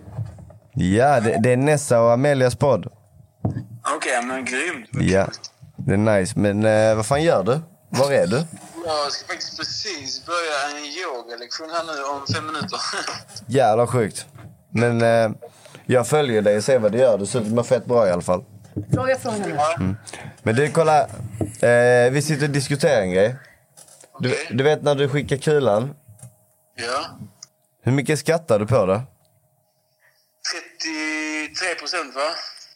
Ja, det, det är Nessa och Amelias podd.
Okej, men grymt.
Ja, det är nice. Men eh, vad fan gör du? Var är du?
Jag ska faktiskt precis börja en yogalektion här nu om fem minuter. *laughs*
Jävla sjukt. Men eh, jag följer dig och ser vad du gör. Du ser ut att må fett bra i alla fall.
Fråga från henne.
Mm. Men du, kolla. Eh, vi sitter och diskuterar en grej. Du, du vet när du skickar kulan.
ja.
Hur mycket skattar du på det?
33 procent, va?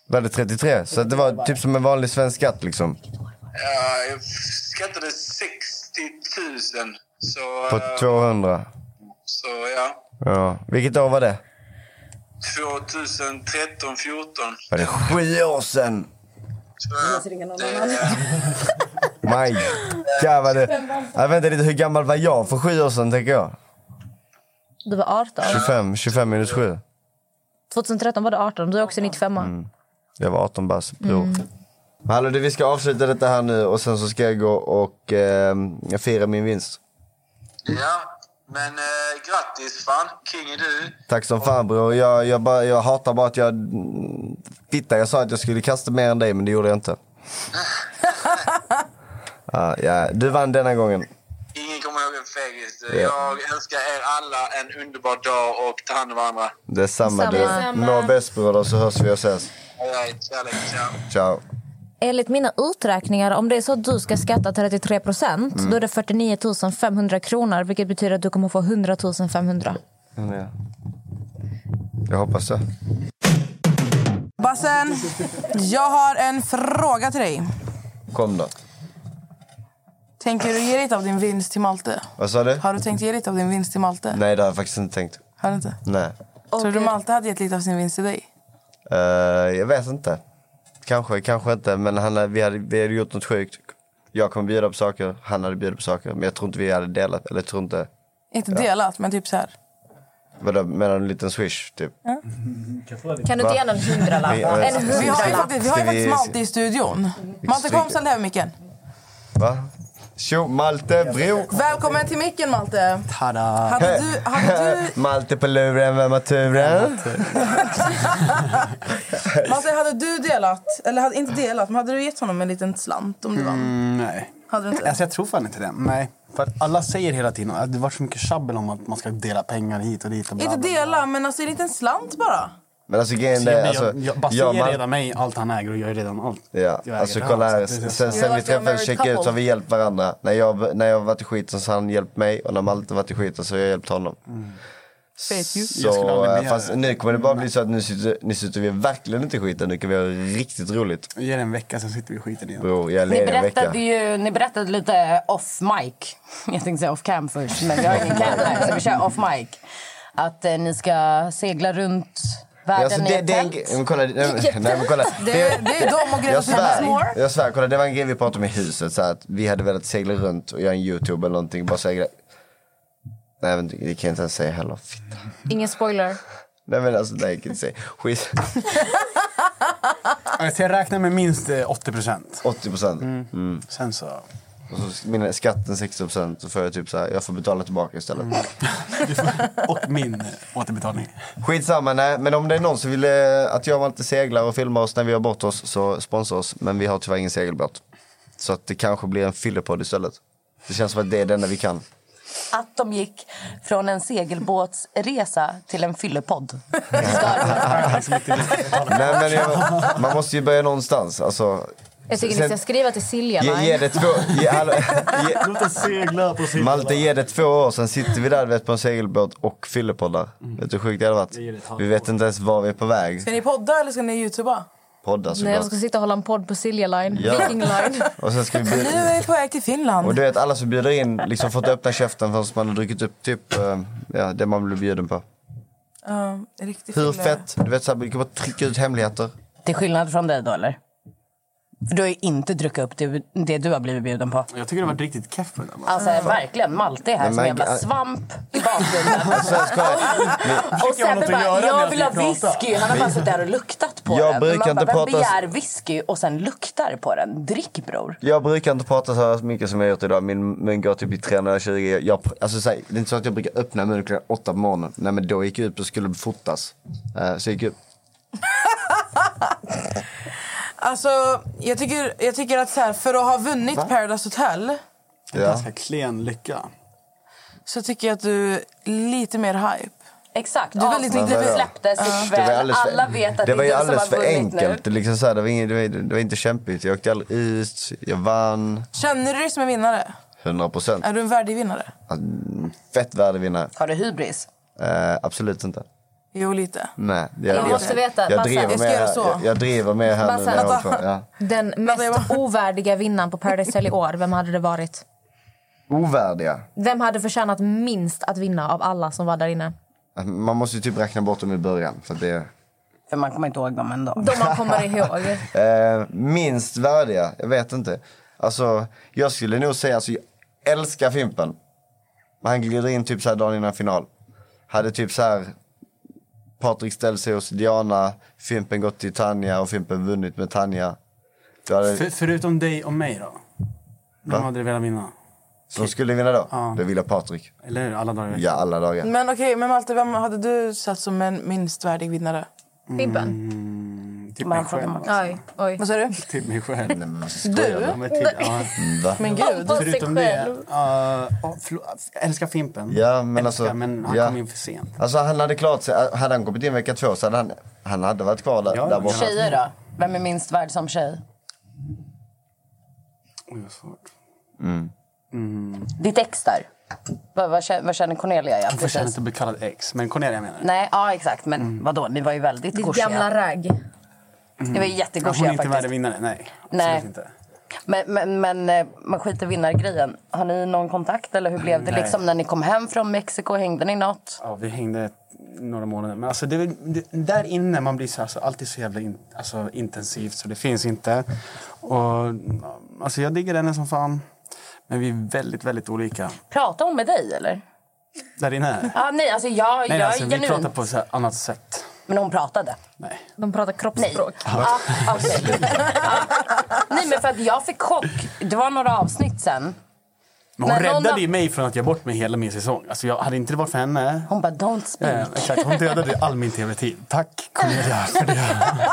Var det 33? Så att det var typ som en vanlig svensk skatt liksom.
Ja, Eh, jag skattade 60 000. Så,
På
eh,
200.
så ja.
Ja. Vilket år var det?
2013, 14.
Var det sju år sedan? Oh My God, vad det... Jag väntar lite, hur gammal var jag för sju år sedan, tänker jag?
Du var 18.
25, 25 minus 7.
2013 var du 18. Du är också 95. Mm.
Jag var 18 bast, bror. Men hallå du, vi ska avsluta detta här nu och sen så ska jag gå och eh, fira min vinst.
*laughs* Ja, men eh, grattis fan. King är du.
Tack som fan bror. Jag, jag, bara, jag hatar bara att jag... mm, Titta, jag sa att jag skulle kasta mer än dig, men det gjorde jag inte. Ja, ja. Du vann denna gången.
Ingen kommer ihåg en
Ja.
fegis. Jag önskar er alla en underbar dag och ta hand om varandra.
Detsamma du.
Detsamma.
Må bäst bror, så hörs vi och ses.
Alright, kärlek. Ciao.
Ciao.
Enligt mina uträkningar, om det är så att du ska skatta 33 procent
Mm.
då är det 49 500 kronor, vilket betyder att du kommer få 100 500.
Ja. Jag hoppas det.
Bassen, jag har en fråga till dig.
Kom då.
Tänker du ge lite av din vinst till Malte?
Vad sa du?
Har du tänkt ge lite av din vinst till Malte?
Nej, det har jag faktiskt inte tänkt.
Har du inte?
Nej.
Tror du Malte hade gett lite av sin vinst till dig?
Eh, jag vet inte. Kanske, kanske inte. Men han, vi, hade, vi hade gjort något sjukt. Jag kommer bjuda på saker, han hade bjudit på saker. Men jag tror inte vi hade delat. Eller jag tror inte...
Inte
Ja.
delat, men typ så här.
Vadå, menar du en liten swish typ?
Mm-hmm.
Kan du inte ge någon hundralapp?
Ja, jag vet
En
inte.
Vi har ju
hundralapp.
faktiskt, vi har ju
Ska
faktiskt
vi-
Malte i studion. Malte, kom ställ dig här vid micken.
Va? Tjo, Malte, bro!
Välkommen till micken, Malte.
Tada!
Hade du- hade
*laughs* Malte på luren, vem har turen?
Malte, hade du delat, eller hade, inte delat, men hade du gett honom en liten slant om du vann?
Mm, nej.
Hade du inte?
Alltså, jag tror fan inte det. Nej. För att alla säger hela tiden att det var så mycket tjabbel om att man ska dela pengar hit och dit. Och bla, bla,
Inte
bla.
dela, men alltså en liten slant bara.
Men alltså grejen
Så jag-
är...
jag-
Alltså,
jag- Basse
jag och
ger
Mal-
redan mig allt han äger och jag är redan allt.
Ja,
Jag
alltså
äger
kolla
det här,
här.
så det är så.
Sen,
You're
sen vi
like a
träffades
married
check ut så har
couple.
vi hjälpt varandra. När jag, när jag varit i skiten så har han hjälpt mig och när Malte varit i skiten så har jag hjälpt honom.
Mm. Jag skulle
Så,
aldrig
eh,
begära
fast
det.
nu kommer det bara bli så att nu sitter, nu sitter vi verkligen inte i skiten. Nu kan vi ha riktigt roligt.
Ge det en vecka, sen sitter vi i skiten igen.
Bror, jag är
Ni
ledig en vecka.
berättade, ju, ni berättade lite off mic. Jag tänkte säga off cam först, men vi har ingen cam här, så vi kör off mic. Att eh, ni ska segla runt världen
Alltså,
i
det,
ett
det, är en,
tält.
gre- men kolla, nej,
*laughs*
men- nej, men kolla.
Det- det är de och Greta
jag
Thunberg.
svär, jag svär, kolla, det var en grej vi pratade om i huset. Så här, att vi hade velat segla runt och göra en YouTube eller någonting. Bara segla. Nej, men det det kan jag inte ens säga heller. Fy
Ingen spoiler.
Nej men alltså nej, jag kan inte säga. Skit.
Alltså, jag räknar med minst eh, 80 procent.
80 procent?
Mm. Sen så...
Och så min skatten 60 procent så får jag typ så här, jag får betala tillbaka istället.
Och min eh, *laughs* återbetalning.
Skitsamma, nej. Men om det är någon som vill eh, att jag och Malte seglar och filmar oss när vi gör bort oss så sponsra oss. Men vi har tyvärr ingen segelbåt. Så att det kanske blir en fyllepodd istället. Det känns som att det är det enda
*laughs*
vi kan.
Att de gick från en segelbåtsresa till en fyllepodd.
nej men jag, man måste ju börja någonstans. Alltså,
Jag tycker ni
sen-
ska skriva till Silja
Ge,
Line.
ge det två... Ge, hallå, ge,
*laughs* Låt oss segla på sidan.
Malte, ge det två år, sen sitter vi där du vet, på en segelbåt och fyllepoddar. Vet du hur sjukt det hade
Jag ger Mm. det
varit?
ett halvt
Vi vet inte ens var vi är på väg.
Ska ni podda eller ska ni youtuba?
Poddar
Nej, jag
såklart.
ska sitta och hålla en podd på Silja Line.
Ja.
Viking Line.
*laughs* Och sen ska vi
Nu
bjuda...
är vi på väg till Finland.
Och du vet, alla som bjuder in liksom fått öppna käften förrän man har druckit upp typ eh, ja, det man blir bjuden på.
Ja, riktigt
Hur
fylla.
fett? Du vet, så här, vi kan bara trycka ut hemligheter.
Till skillnad från dig då, eller? För du har ju inte druckit upp det, det du har blivit bjuden på.
Jag tycker det har varit riktigt keff med den.
Alltså verkligen, Malte är här
Men
som en
man-
jävla svamp i bakgrunden.
*laughs* Alltså, jag skojar.
och
jag ha
Sebbe
något att
bara,
göra med
jag
att
vill
vi
ha
pratar."
whisky. Han har bara
Vi-
suttit där och luktat på
Jag
den.
brukar
Man
inte
bara,
prata-
Vem begär whisky och sen luktar på den? Drick bror.
Jag brukar inte prata så här mycket som jag gjort idag. Min mun går typ i 320. Jag- Jag, pr- alltså, så här, det är inte så att jag brukar öppna munnen klockan åtta på morgonen. Nej, men då gick jag ut och skulle fotas. Eh, Så jag gick upp.
Alltså, jag tycker, jag tycker att så här, för att ha vunnit Paradise Hotel
Det är ganska klen lycka.
så tycker jag att du är lite mer hype.
Exakt.
Du är väldigt
Men
lite
vadå?
släpptes
Det var
ikväll.
alldeles för-
Alla vet att det,
det var ju
är du som
alldeles
har
för
vunnit nu.
enkelt. Det, är liksom så här, det, var ingen, det, var, det var inte kämpigt. Jag åkte aldrig ut, jag vann.
Känner du dig som en vinnare?
100 procent. Alltså,
Är du en värdig vinnare?
Fett värdevinnare.
Har du hybris?
Eh, absolut inte.
Jo, lite.
Nej,
Jag måste veta,
Jag
Basse.
driver
Jag ska
med,
göra
jag,
så.
jag, jag driver med här nu.
Basse,
När jag
vänta.
håller på. ja.
Den mest ovärdiga vinnaren på Paradise Hotel i år, vem hade det varit?
Ovärdiga.
Vem hade förtjänat minst att vinna av alla som var där inne?
Man måste ju typ räkna bort dem i början. För att det är...
För man kommer inte ihåg dem ändå.
De man kommer ihåg.
Eh, minst värdiga? Jag vet inte. Alltså, jag skulle nog säga, alltså, jag älskar Fimpen. Han glider in typ så här dagen innan final. Hade typ så här, Patrik ställt sig hos Diana, Fimpen gått till Tanja och Fimpen vunnit med Tanja. Då hade,
För, förutom dig och mig då?
Va?
Vem hade du velat vinna?
som skulle vinna då? Det ville Patrik.
Eller alla dagar i veckan?
Ja, alla dagar.
Men okej, men Malte, vem hade du satt som en minst värdig vinnare?
Fimpen?
Mm,
Typ
Bara
mig
fråga
själv.
Malte.
Oj, oj.
Vad sa du?
Typ mig själv. Nej,
men alltså,
skojar Du? du?
Men, typ, ja.
Va?
Men gud.
Hoppas sig
Förutom det,
själv.
uh, älskar Fimpen.
Ja, men
älskar,
alltså,
men han
ja.
kom in för sent.
Alltså han hade klarat sig. Hade han kommit in vecka två så hade han, han hade varit kvar där, där borta.
Tjejer då? Vem är minst värd som tjej?
Oj, vad svårt.
Mm.
Ditt ex där? Vad, vad, känner, vad känner Cornelia? Ja,
Han förtjänar
precis.
inte att bli kallad ex, men Cornelia menar jag.
Nej, ja exakt. Men
Mm.
vadå, ni var ju väldigt
Ditt
goshiga.
gamla ragg.
Ni var ju
Men Hon är
jättegoshiga
inte
faktiskt.
värd vinnare, nej.
Nej.
Absolut inte.
Men, men, men eh, man skiter i vinnargrejen. Har ni någon kontakt eller hur blev det
Nej.
liksom när ni kom hem från Mexiko? Hängde ni något?
Ja, vi hängde några månader. Men alltså, det, är väl- det, där inne man blir så, alltså, alltid så jävla in, alltså, intensivt så det finns inte. Och, alltså, jag diggar henne som fan. Men vi är väldigt, väldigt olika.
Pratade hon med dig eller?
Där inne?
Ah, nej, alltså jag,
Nej,
jag
alltså,
är
vi
genuin.
pratar på ett annat sätt.
Men hon pratade?
Nej.
De pratar kroppsspråk.
Ah,
*laughs*
okej. ah. Nej, men för att jag fick chock. Det var några avsnitt sen.
Men hon
Nej, någon
räddade
av-
ju mig från att jag bort mig hela min säsong. Alltså, jag hade inte det varit för henne...
Hon bara, don't speak.
Eh, exakt, hon dödade ju all min tv-tid. Tack Cornelia för det.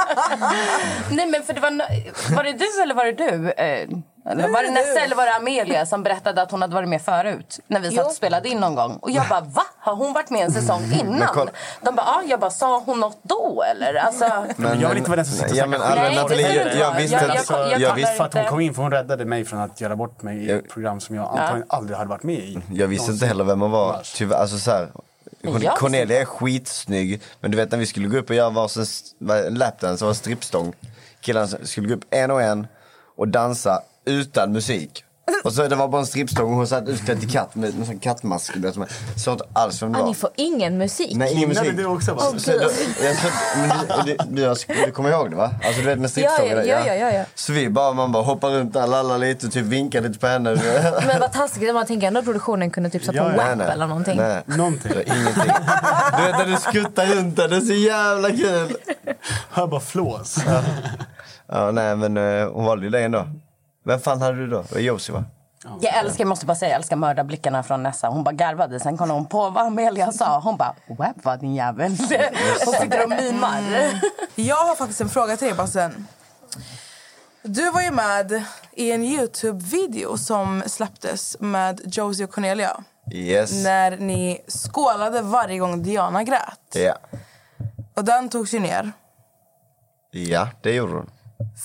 Nej, men för det var, no- var det du eller var det du? Eh, eller var det
du.
Nesse eller var det Amelia som berättade att hon hade varit med förut? När vi satt och spelade in någon gång. Och jag bara, va? Har hon varit med en säsong
Mm. Men
innan?
kolla-
De bara, ja. Jag bara, sa hon något då eller? Alltså,
Men jag vill inte vara den som sitter och
ja, men
snackar skit.
alla
Nej, det
Nathalie,
behöver
jag,
du
jag
inte
visste
vara.
att...
Jag- jag- jag
jag
kollar
visste
För att hon
inte.
kom in, för hon räddade mig från att göra bort mig i ett program som jag antagligen aldrig hade varit med i.
Jag visste inte heller vem hon var. Tyvärr, alltså så här,
Jag
Corn-
visste-
Cornelia är skitsnygg, men du vet när vi skulle gå upp och göra varsin s- va- lapdance och en strippstång. Killarna skulle gå upp en och en och dansa utan musik. Och så det var bara en strippstång och hon satt utklädd till katt med med en sån kattmask. du vet, som- Såg inte alls vem det
Ah,
var.
ni får ingen musik.
Nej, ingen musik.
va?
Så- så- då- jag- så- men du, du, du, har- du kommer ihåg det va? Alltså du vet med strippstången?
Ja,
där,
ja, ja, ja, ja.
Så vi bara, man bara hoppar runt där, lallar lite, typ vinkar lite på henne.
Men vad taskigt. Man tänker ändå att produktionen kunde typ sätta på WAP eller någonting.
Nej.
Någonting.
Ingenting. Du vet när du skuttar runt där, det är så jävla kul.
Hör bara flås.
Ja, nej men eh, hon valde ju dig ändå. Vem fan hade du då? Det var Josie va?
jag älskar, jag måste bara säga, jag älskar mördarblickarna från Nessa. Hon bara garvade, sen kollade hon på vad Amelia sa. Hon bara, web vad din jävel.
Mm.
Hon sitter och mimar.
Jag har faktiskt en fråga till dig, Bassen. Du var ju med i en Youtube-video som släpptes med Josie och Cornelia.
Yes.
När ni skålade varje gång Diana grät.
Ja.
Och den togs ju ner
ja, det gjorde hon.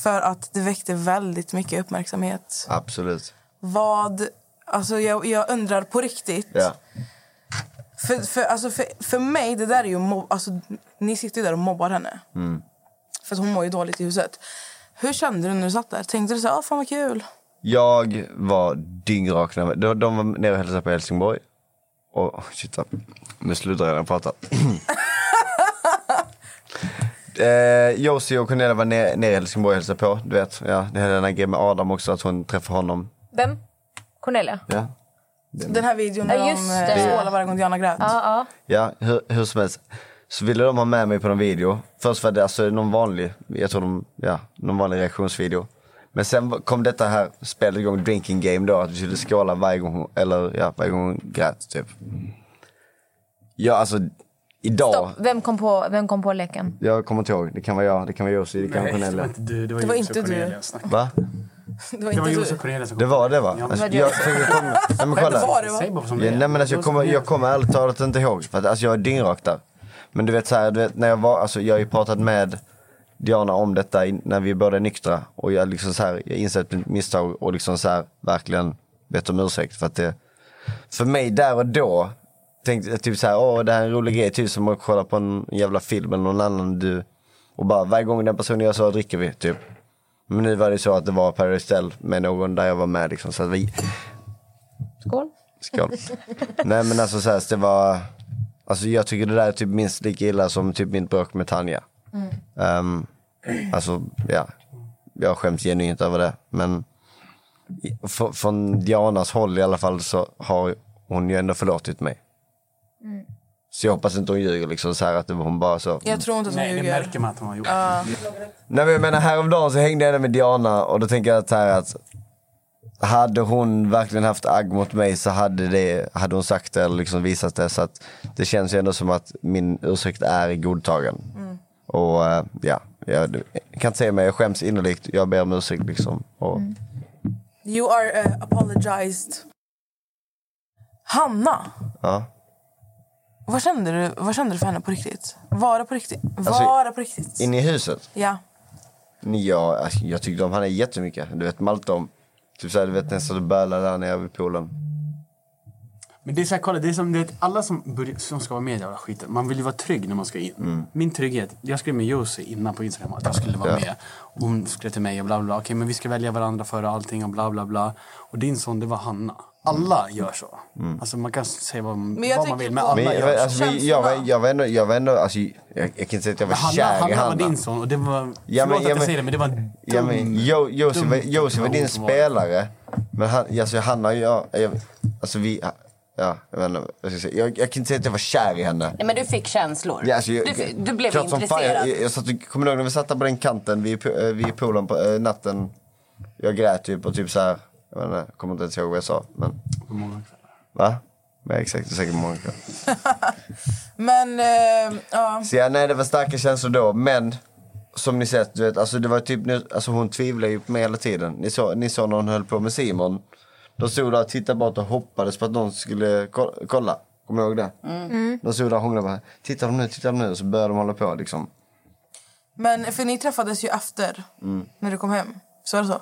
för att det väckte väldigt mycket uppmärksamhet.
Absolut.
Vad... Alltså jag, jag undrar på riktigt.
Ja.
För, för, alltså för, för mig, det där är ju... Mob- alltså, ni sitter ju där och mobbar henne.
Mm.
För att hon mår ju dåligt i huset. Hur kände du när du satt där? Tänkte du så här, "Ah, fan vad kul?
Jag var dyngrak när de, de var nere och hälsade på i Helsingborg. Och oh, shit, vad- nu slutar jag redan prata. *clears throat* eh, Josie och Cornelia var nere, nere i Helsingborg och hälsade på. Du vet, ja, det hände den här grejen med Adam också, att hon träffade honom.
Vem? Cornelia?
Ja.
Den här videon
Ja,
där
just
de eh,
det.
skålar varje gång Diana grät.
Ja, ja.
Ja, hur, hur som helst. Så ville de ha med mig på någon video. Först var det alltså någon vanlig, jag tror de, ja, någon vanlig reaktionsvideo. Men sen kom detta här spelet igång, drinking game då, att vi skulle skåla varje gång, eller ja, varje gång hon grät typ. Ja, alltså idag,
Stopp. Vem kom, på, vem kom på leken?
jag kommer inte ihåg, det kan vara jag, det kan vara Jussi, det kan vara
Nej, det var
Cornelia.
inte du. Det var,
Det var
Josie
inte
och
du.
Cornelia. Snacka.
Va?
Det var
Det
inte
var
du.
Josie och Cornelia som
Det
kom.
var det va?
Ja,
Alltså,
men-
jag, för jag kommer, nej, men kolla.
Det var det va?
Säg bara som det
Ja,
är.
nej, men alltså, jag, kommer, jag kommer ärligt talat inte ihåg. För att, alltså, jag är dyngrak där. Men du vet, så här, du vet när jag, var, alltså, jag har ju pratat med Diana om detta i- när vi båda är nyktra. Och jag, liksom, så här, jag insett mitt misstag och liksom, så här, verkligen bett om ursäkt. För, att det, för mig där och då tänkte jag typ så här, åh det här är en rolig grej. Typ som att kolla på en jävla film eller någon annan du. Och bara varje gång den personen gör så dricker vi typ. Men nu var det så att det var Paradise Hotel med någon där jag var med liksom. Så att vi,
Skål.
Skål. Nej men alltså så här, det var... Alltså jag tycker det där är typ minst lika illa som typ min bråk med Tanja.
Mm.
Ehm, alltså, ja. Jag skäms genuint över det. Men i- fr- från Dianas håll i alla fall så har hon ju ändå förlåtit mig.
Mm.
Så jag hoppas inte hon ljuger liksom så här att det var hon bara så.
Jag tror inte att hon
Nej, det
ljuger.
märker man att hon har gjort.
Ja.
Nej men jag menar häromdagen så hängde jag där med Diana och då tänker jag så här att hade hon verkligen haft agg mot mig så hade, det, hade hon sagt det eller liksom visat det. Så att det känns ju ändå som att min ursäkt är godtagen.
Mm.
Och eh, ja, jag, jag kan inte säga mer, jag skäms innerligt. Jag ber om ursäkt liksom. Och,
You are eh, apologized. Hanna,
ja.
vad kände, du, vad kände du för henne på riktigt? Var det på riktigt? Var
Alltså,
det på riktigt?
In i huset?
Ja.
Nej, Jag, alltså, jag tyckte om henne jättemycket. Du vet Malte om. Typ såhär, du vet nästan du bölade där nere vid poolen.
Men det är så här, kolla, det är som, du vet, alla som, börjar, som ska vara med i den här skiten, man vill ju vara trygg när man ska in. Min trygghet, jag skrev med Jussi innan på Instagram att jag skulle vara
Ja.
med. Och hon skrev till mig och bla bla, bla. okej men vi ska välja varandra före allting och bla bla bla. Och din son, det var Hanna. Alla gör så.
Mm.
Alltså man kan säga vad,
Men jag
vad man
tänker
vill, men
på-
alla
Men,
gör så.
alltså, vi- jag, var, jag var ändå, jag var ändå alltså, jag, jag kan inte säga att jag var
Men Hanna,
kär i
Hanna
Hanna.
var din son och det var,
Ja, men-
förlåt
ja,
att
men-
jag säger det men det var en
Ja, men, jo, Josie, var, Josie var din spelare. Men han, alltså, Hanna och jag, jag, alltså vi, ja, jag vet inte vad jag ska säga. Jag, jag kan inte säga att jag var kär i henne.
Nej, men du fick känslor.
Ja, alltså, jag,
du, fi- du blev
klart som
intresserad.
Fan, jag, jag satt, och- kommer du ihåg när vi satt där på den kanten vid, po- eh, vid poolen på eh, natten? Jag grät typ och typ så här, jag vet inte, jag kommer inte ens ihåg vad jag sa. Men, va? Ja, exakt, det är säkert många kvällar.
Men, eh, ja.
Så ja, nej det var starka känslor då, men som ni sett, du vet, alltså det var typ, nu- alltså hon tvivlade ju på mig hela tiden. Ni såg ni så när hon höll på med Simon. De stod där och tittade bort och hoppades på att någon skulle ko- kolla. Kommer du ihåg det?
Mm.
De stod där och hånglade bara, tittar de nu, tittar de nu, och så började de hålla på liksom.
Men för ni träffades ju efter,
Mm.
när du kom hem. Så är det så?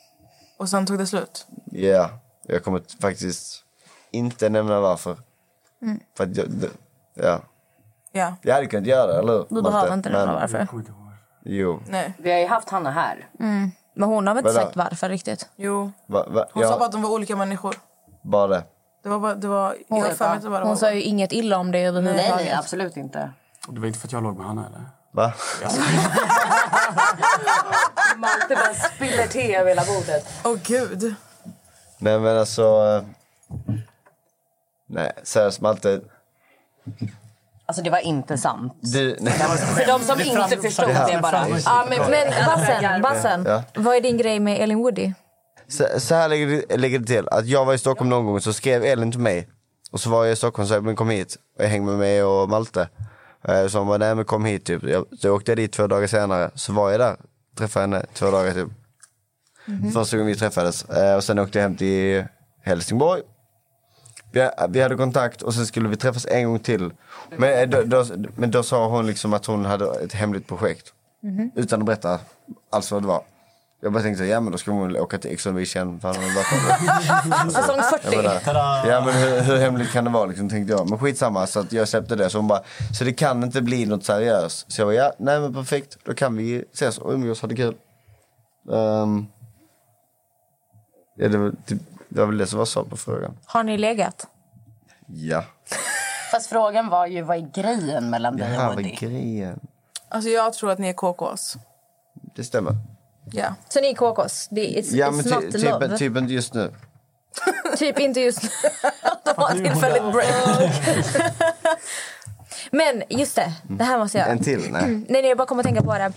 Och sen tog det slut?
Ja, jag kommer t- faktiskt inte nämna varför.
Mm.
För att jag, d- ja.
Ja.
Jag hade kunnat göra det, eller hur?
Du
Malte?
behöver inte nämna
Men-
varför.
Jo.
Nej.
Vi har ju haft Hanna här.
Mm. Men hon har väl inte
Vadå?
sagt varför riktigt?
Jo.
Va, va,
Hon sa bara
ja,
att de var olika människor.
bara det.
Det var bara, det var,
Hon,
jag har för mig att det bara
hon
var...
sa ju inget illa om dig överhuvudtaget.
Nej, nej, absolut inte.
Och det var inte för att jag låg med Hanna
*laughs*
eller?
Va?
Malte bara spiller te över hela bordet.
Åh gud.
Nej men alltså... eh, Nej, seriöst Malte.
Alltså det var inte sant.
Du, nej.
För de som inte förstod
Ja.
det bara.
Ja, men, men Bassen, bassen
Ja.
vad är din grej med Ellen Woody?
Så, så här lägger det, lägger det till. Att jag var i Stockholm någon gång så skrev Elin till mig. Och så var jag i Stockholm och sa men kom hit. Och jag hängde med mig och Malte. Eh, Så hon bara nej men kom hit typ. Jag, så jag åkte dit två dagar senare. Så var jag där. Träffade henne två dagar typ. Första gången vi träffades. Eh, Och sen åkte jag hem till Helsingborg. Vi, vi hade kontakt och sen skulle vi träffas en gång till. Men eh, då, då, men då sa hon liksom att hon hade ett hemligt projekt. Utan att berätta alls vad det var. Jag bara tänkte, ja men då ska hon väl åka till Ex on the Beach igen. Fan, hon har varit på det.
Säsong 40.
Jag bara,
Tada!
Ja men hur, hur hemligt kan det vara liksom, tänkte jag. Men skitsamma så att jag släppte det. Så hon bara, så det kan inte bli något seriöst. Så jag bara, ja nej men perfekt. Då kan vi ses och umgås, ha det kul. Ehm, ja, det, var, typ, det var väl det som var svar på frågan.
Har ni legat?
Ja.
Fast frågan var ju vad är grejen mellan
Det
dig och
här var
Woody?
grejen.
Alltså jag tror att ni är KKs.
Det stämmer.
Ja.
Så ni är KKs? Det är- It's,
Ja
it's
men
not
ty,
love.
typ, typ inte just nu.
*laughs* Typ inte
*laughs*
just nu. De har ett tillfälligt break. Men just det, det här måste jag...
En till? Nej.
*clears throat* Mm, nej, nej, jag bara kommer att tänka på det.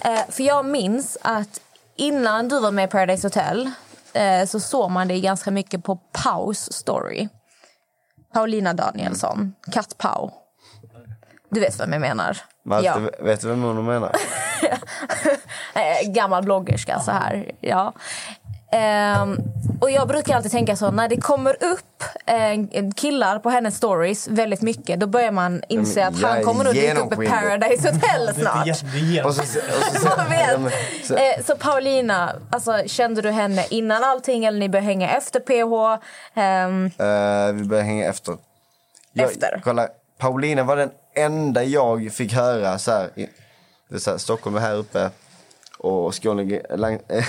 Eh, för jag minns att innan du var med i Paradise Hotel eh, så såg man dig ganska mycket på Paus story. Paulina Danielsson, Kat Pau. Du vet vem jag menar?
Malte,
Ja.
vet du vem hon menar?
Eh, gammal bloggerska så här. Ja. Ehm, och jag brukar alltid tänka så, när det kommer upp eh, killar på hennes stories väldigt mycket, då börjar man inse att han kommer att dyka upp i Paradise
*laughs*
Hotel snart. *laughs*
Och så, och så,
Man vet.
Så-
Eh, Så Paulina, alltså, kände du henne innan allting eller ni började hänga efter PH? Ehm,
Eh, vi började hänga efter. efter. Kolla, Paulina var den enda jag fick höra så här. i- Det är så här Stockholm är här uppe och Skåne är lang, *laughs* eh,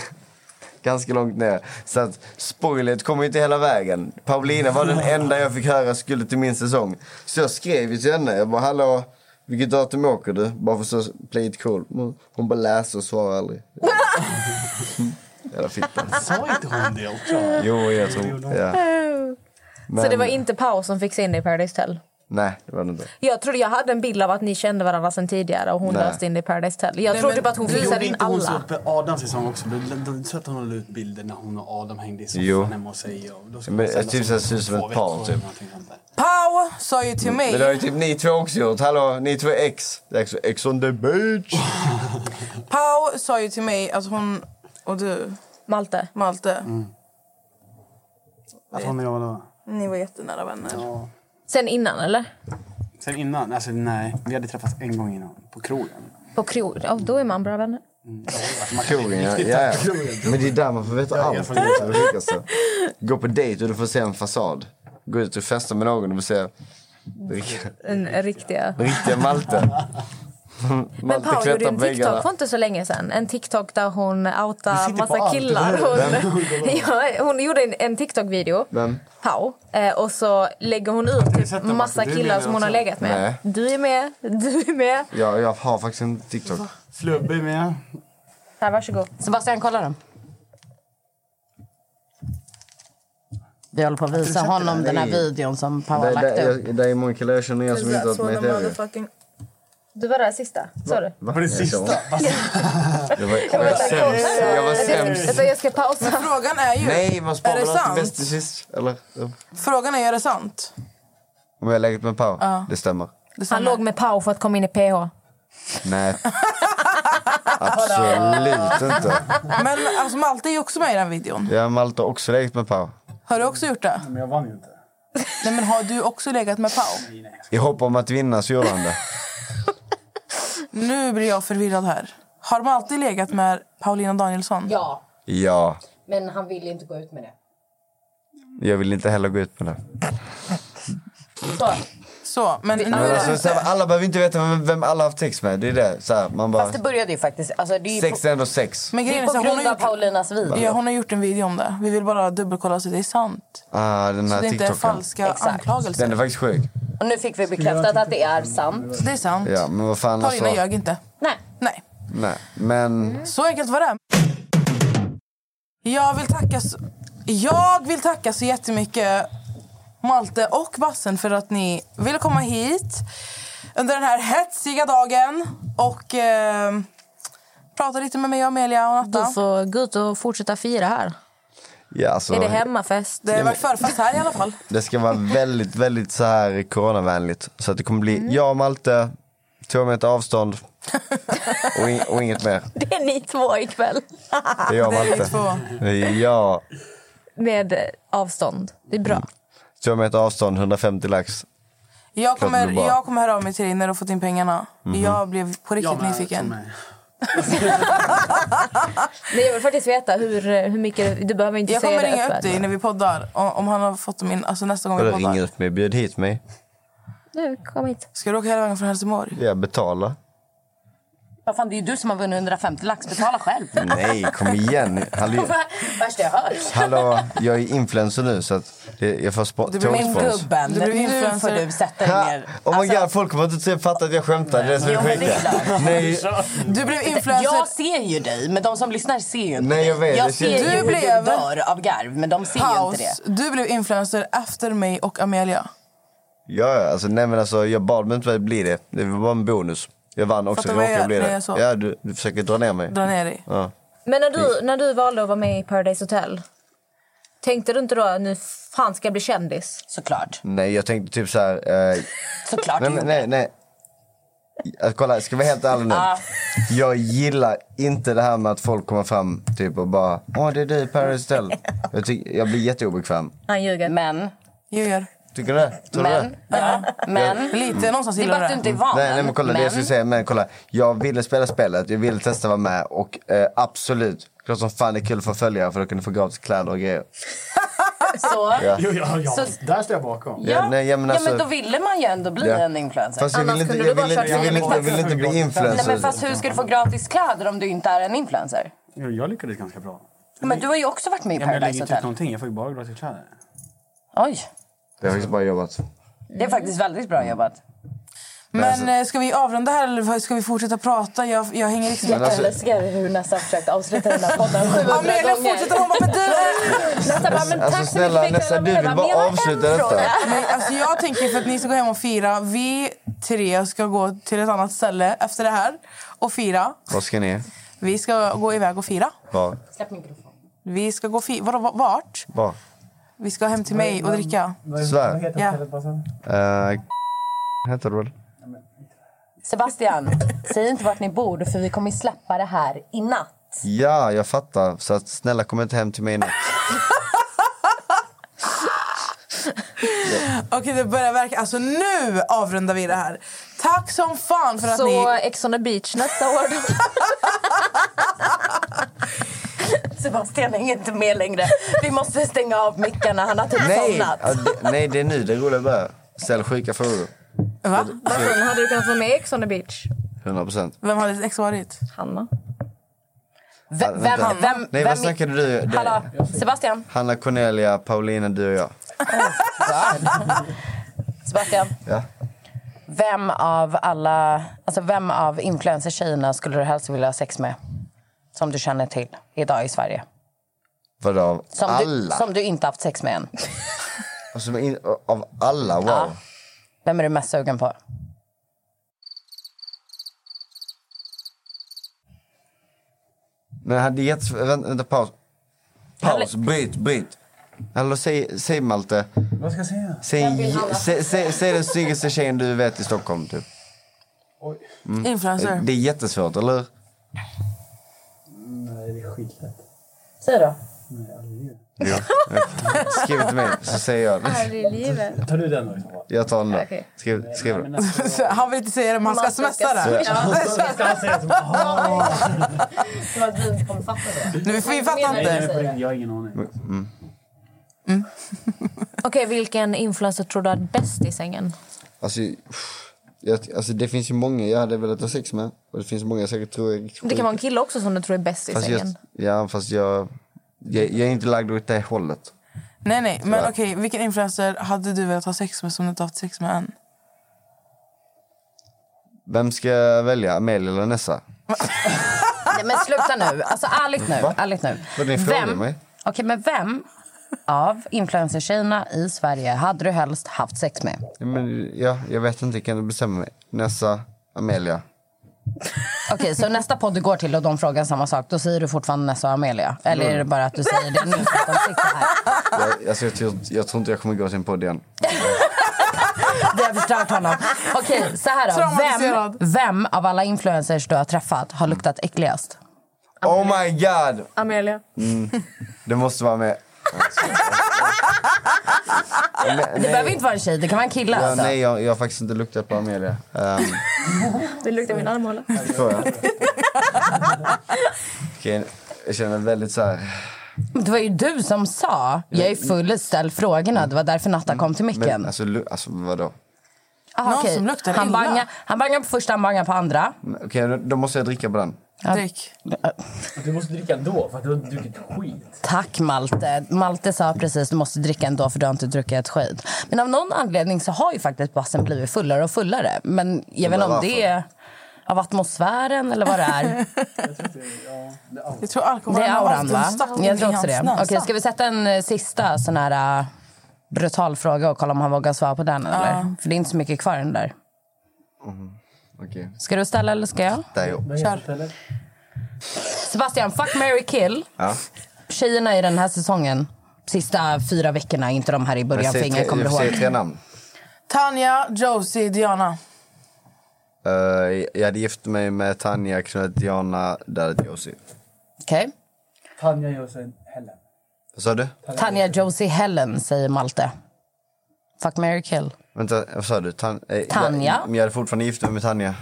ganska långt ner. Så att spoilet kommer ju inte hela vägen. Paulina var den enda jag fick höra skulle till min säsong. Så jag skrev ju till henne. Jag bara, hallå, vilket datum åker du? Bara för att play it cool. Mm. Hon bara läser och svarar aldrig. Jävla fitta.
Sa inte hon det också?
Jo, jag tror... Ja.
Så
Men-
det var inte Pau som fick in dig i Paradise Hotel?
Nej, det var det inte.
Jag trodde jag hade en bild av att ni kände varandra sedan tidigare och hon
Nej.
löste in dig i Paradise Hotel. Jag
Nej,
trodde
men
bara att hon
det gjorde
fixade in
inte hon
alla.
så på Adams säsong också. Då- då- då- Så att hon la ut bilder när hon och Adam hängde i
Jo.
soffan hemma hos sig. och då ska
Men,
man sända
typ
som
så ser ut som
två
ett par,
veckor
typ.
eller någonting sånt där.
Pau sa ju till mig...
Men det har ju typ ni två också gjort. Hallå, ni två är ex. Det är också ex on the beach.
Pau sa ju till mig att hon och du...
Malte.
Malte.
Mm.
Att hon och jag var då.
Ni var jättenära vänner.
Sen innan eller?
Sen innan, alltså nej. Vi hade träffats en gång innan. På krogen.
På krog? Ja, då är man bra vänner.
Krogen, ja.
Riktigt
ja, ja.
tack, krogen.
Men det är där man får veta allt. Det är det sjukaste. Gå på dejt och du får se en fasad. Gå ut och festa med någon och du får se rik-
En riktiga.
riktiga Malte.
Men
Malte
Pau gjorde
klättrar
en
på
TikTok
väggarna.
för inte så länge sedan. En TikTok där hon outar
sitter på
massa
allt,
killar.
det där är det.
Hon,
*laughs*
*laughs* ja, hon gjorde en, en TikTok-video.
Vem?
Pau. Eh, och så lägger hon ut typ
den,
massa
Martin? Du är
killar
med
som hon har
också.
legat med.
Nej.
Du är med, du är med.
Ja, jag har faktiskt en TikTok.
Flubbe är med.
Här, varsågod.
Sebastian, kolla den. Vi håller på att visa
Har du sett
honom
den?
den här
Nej.
videon som
Det,
Pau har lagt
det,
upp.
det, det är många killar jag känner igen som inte har varit med i tv.
Du var där sista, sa du?
Va? Jag sa- Det var, jag
Jag
var
väntar.
sämst. Jag var sämst.
Vänta, jag ska pausa.
Men frågan är ju...
Nej, man sparar
är det
väl alltid
sant?
bäst till sist? Eller? ja.
Frågan är, är det sant?
Om jag har legat med Pau?
Ja.
Det stämmer.
Han låg med Pau för att komma in i PH.
Nej.
*laughs*
Absolut inte.
Men alltså, Malte är ju också med i den videon.
Jag och Malte har också legat med Pau.
Har du också gjort det? Men
jag vann ju inte.
Nej, men har du också legat med Pau?
I hopp om att vinna så gjorde han det.
Nu blir jag förvirrad här. Har Malte legat med Paulina Danielsson?
Ja.
Ja,
Men han vill inte gå ut med det.
jag vill inte heller gå ut med det.
Så.
Så, men nu
Men alltså, så här, alla behöver inte veta vem, vem alla har haft sex med. Det är det. Så här, man bara,
Fast det började ju faktiskt... Alltså, det är ju
sex
på,
är ändå sex.
Men
det
grejen
är
är så
på
här, hon
grund
har
av
gjort...
Paulinas video.
Ja, hon har gjort en video om det. Vi vill bara dubbelkolla så det är sant.
Ah, den
Så
här
det inte är
TikToken.
falska
Exakt.
anklagelser.
Den är faktiskt sjuk.
Och nu fick vi bekräftat att det är sant.
Det är sant.
Ja, men vad fan alltså.
Paulina ljög inte.
Nej.
Nej.
Nej, men...
Så enkelt var det. Jag vill tacka så, jag vill tacka så jättemycket Malte och Bassen för att ni ville komma hit under den här hetsiga dagen och eh, prata lite med mig och Amelia och Natta.
Du får gå ut och fortsätta fira här.
Ja, alltså,
Är det hemmafest?
Det har varit
förfest här i alla fall.
Det ska vara väldigt, väldigt så här coronavänligt. Så att det kommer
Mm.
bli jag och Malte, två meter avstånd och, in, och inget mer.
Det är ni två ikväll.
Det är jag och
Ah,
Malte. Det är jag.
Med eh, avstånd. Det är
Mm.
bra.
Två meter avstånd, 150 lax.
Jag
Klart
kommer,
det blir bra.
jag kommer höra av mig till dig när du har fått in pengarna.
Mhm.
Jag blev på riktigt
Jag med,
nyfiken.
Men jag vill faktiskt veta hur, eh, hur mycket... Du behöver inte
Jag
säga
kommer
det
ringa upp
öppet.
dig när vi poddar om, om han har fått dem in, alltså nästa gång vi
Vadå
poddar.
ringa upp mig? Bjud hit mig.
Nu, kom hit.
Ska du åka hela vägen från Helsingborg?
Jag betalar.
Vad fan, det är ju du som har vunnit 150 lax. Betala själv.
Nej, kom igen. Hallå,
*laughs*
Värsta jag hört.
hallå jag är influencer nu så att det- jag får spo-
Men
tågspons.
gubben,
Du blir
nu får
influencer.
du sätta dig
Ha!
ner.
Oh my god, folk kommer inte fatta att jag skämtar. Det är det som är
Jo, Alltså- men det är
sjuka.
klart.
Nej,
Du blev influencer.
Jag ser ju dig, men de som lyssnar ser ju inte
Nej,
dig.
jag vet,
jag
det
ser
känns-
ju
Du
hur
blev-
du dör av garv, men de ser ju inte det.
Paus. Du blev influencer efter mig och Amelia.
Ja, ja, alltså, nej, men alltså, jag bad mig inte att bli det. Det var bara en bonus. Jag vann också.
Fattar
Jag
vad jag
råkade
gör när
bli det.
jag så?
Ja, du, du försöker dra ner mig.
Dra ner dig.
Ja.
Men när du, när du valde att vara med i Paradise Hotel, tänkte du inte då att nu fan ska jag bli kändis?
Såklart.
Nej, jag tänkte typ så här... Eh...
Såklart
nej,
du
men,
gjorde.
nej, nej. Att kolla, ska vi vara helt ärlig nu?
Ja.
Jag gillar inte det här med att folk kommer fram typ och bara Åh, det är du i Paradise Hotel.
*laughs*
Jag, tycker- jag blir jätteobekväm.
Han ljuger. Men.
Ljuger.
Tycker du det? Tror du
Men.
det?
Ja. Men.
Jag-
Lite någonstans
Det är
gillar
bara att
det.
du inte är van.
Nej, nej men kolla det jag
men.
skulle säga. Men kolla, jag ville spela spelet, jag ville testa vara med och eh, absolut, klart som fan det är kul för följare för då kan du få gratis kläder och grejer.
Så.
Ja.
Jo, ja, ja.
Så-
Där står jag bakom.
Ja, ja, men,
nej, ja, men alltså-
då ville man ju ändå bli
Ja.
en influencer.
Fast alltså- jag vill
Annars
inte-
kunde
jag
du bara
vill
kört
inte- jag vill inte- jag vill inte bli influencer.
Nej, men fast hur ska du få gratis kläder om du inte är en influencer?
Jo, jag lyckades ganska bra.
Men du har ju också varit med i
Ja, men jag lägger
Paradise
inte ut
Hotel.
någonting, jag får ju bara gratis kläder.
Oj,
Det har faktiskt bara jobbat.
det är faktiskt väldigt bra jobbat.
Men eh, ska vi avrunda här eller vad- ska vi fortsätta prata? Jag, jag hänger liksom
Men alltså-
älskar hur Nessa försökte avsluta den
*laughs*
här podden
700
Amelia
gånger.
fortsätter hon bara, men du...
Nessa bara, men
Alltså snälla Nessa, du vill bara avsluta detta.
Nej, alltså jag tänker för att ni ska gå hem och fira. Vi tre ska gå till ett annat ställe efter det här och fira.
Vad ska ni?
Vi ska gå iväg och fira.
Var?
Släpp mikrofonen. Vi ska gå och fira. Vadå, va- vart?
Var?
Vi ska hem till mig och dricka.
Svär. vad
Ja.
Uh, heter det väl?
Sebastian, *laughs* säg inte vart ni bor för vi kommer ju släppa det här i natt.
Ja, jag fattar. Så att, snälla kom inte hem
*laughs*
till mig nu.
Okej, det börjar verka. Alltså nu avrundar vi det här. Tack som fan för att ni...
Så Alltså, Ex on the beach nästa år. då.
Sebastian hänger inte med längre. Vi måste stänga av mickarna, han har typ
Nej,
somnat.
ja, det, nej, det är nu det roliga börjar. Ställ sjuka frågor.
Va?
Sen *laughs* hade du kunnat vara med i Ex on the beach.
100 procent.
Vem hade ditt ex varit?
Hanna.
Vem, vem, vem,
Nej, vad
vem,
snackade du? Det-
Hallå, Sebastian.
Hanna, Cornelia, Paulina, du och jag.
Sebastian.
Ja.
Vem av alla, alltså vem av influencertjejerna skulle du helst vilja ha sex med? Som du känner till idag i Sverige.
Vadå, av
Som, du,
alla?
som du inte haft sex med än.
Alltså, men in, av alla? Wow.
Ja. Vem är du mest sugen på?
Men det är jättes... Vänta, vänta paus. Paus, bryt, bryt. Hallå, säg, säg Malte.
Vad ska jag säga?
Säg, säg, säg, säg den snyggaste tjejen du vet i Stockholm, typ. Mm.
Influencer.
Det är jättesvårt, eller hur?
Nej, det är skitlätt.
Säg då.
Ja. Skriv till mig, så säger jag det.
Aldrig i livet.
Tar du den då? i så fall?
Jag tar den då.
Okej.
Skriv, skriv det.
*laughs* Han vill inte säga det, men han ska smsa det.
*laughs* Alltså,
Det var att du inte kommer fatta det.
Nu, vi fattar
Nej, nej,
inte.
men på riktigt, jag har ingen aning.
Mm.
Okej, vilken influencer tror du är bäst i sängen?
Alltså, pff, jag, alltså, det finns ju många jag hade velat ha sex med. Och det finns många jag säkert tror är
Det kan vara en kille också som du tror är bäst i
Fast jag,
sängen.
ja, fast jag, jag, jag är inte lagd åt det hållet.
Nej, nej. Men
Ja.
okej, vilken influencer hade du velat ha sex med som du inte haft sex med än?
Vem ska jag välja? Amelia eller Nessa?
Nej, men sluta nu. Alltså ärligt nu.
Va?
Ärligt nu.
Vad ni frågar
Vem?
mig?
Okej, men vem av influencertjejerna i Sverige hade du helst haft sex med?
Ja, Men, ja, jag vet inte, kan du bestämma mig? Nessa, Amelia.
Okej, så nästa podd du går till och de frågar samma sak, då säger du fortfarande Nessa och Amelia? Eller är det
Mm.
bara att du säger det nu för att de sitter här?
Jag, alltså, jag, tror, jag tror inte jag kommer gå till en podd igen.
Vi har förstört honom. Okej, så här då.
Traumatiserad.
Vem, vem av alla influencers du har träffat har luktat äckligast?
Oh my god!
Amelia.
Mm. Det måste vara med.
Det behöver inte vara en tjej, det kan vara en kille
Ja,
alltså.
nej, jag, jag har faktiskt inte luktat på Amelia. Ehm,
Det luktar min armhåla.
tror jag. Okej, jag känner väldigt så här...
Det var ju du som sa, jag är full, i ställ frågorna. Det var därför Natta kom till
Men,
micken.
alltså, lu, alltså vadå?
Aha,
Någon
Ah, okej.
som luktar
han,
illa.
bangar, han bangar på första, han bangar på andra.
Okej, då, då måste jag dricka på den.
Drick.
Du måste dricka ändå för att du har druckit skit.
Tack Malte. Malte sa precis du måste dricka ändå för du har inte druckit ett skit. Men av någon anledning så har ju faktiskt bassen blivit fullare och fullare. Men jag vet inte om
Undrar
det är av atmosfären eller vad
*laughs*
det är.
Jag tror alkoholen
Det är
har
auran
haft
va?
en stark
Jag tror
i hans
också det.
näsa.
Okej, ska vi sätta en eh, sista sån här eh, brutal fråga och kolla om han vågar svara på den eller?
Ja.
För det är inte så mycket kvar i den där.
Okej.
Ska du ställa eller ska jag?
Där är jag.
Kör.
Sebastian, fuck, Mary kill.
Ja.
Tjejerna i den här säsongen, sista fyra veckorna, inte de här i början,
Men
för
säg
ingen
tre-
kommer
säg
ihåg.
tre namn.
Tanja, Josie, Diana.
Eh, jag hade gift mig med Tanja, knullat Diana, dödat Josie.
Okej.
Tanja Josen Helle.
Vad sa du?
Tanja Josie Helen, säger Malte. Fuck, marry, kill.
Vänta, vad sa du? Tan- eh, jag-
Tanja?
Men jag hade fortfarande gift mig med Tanja.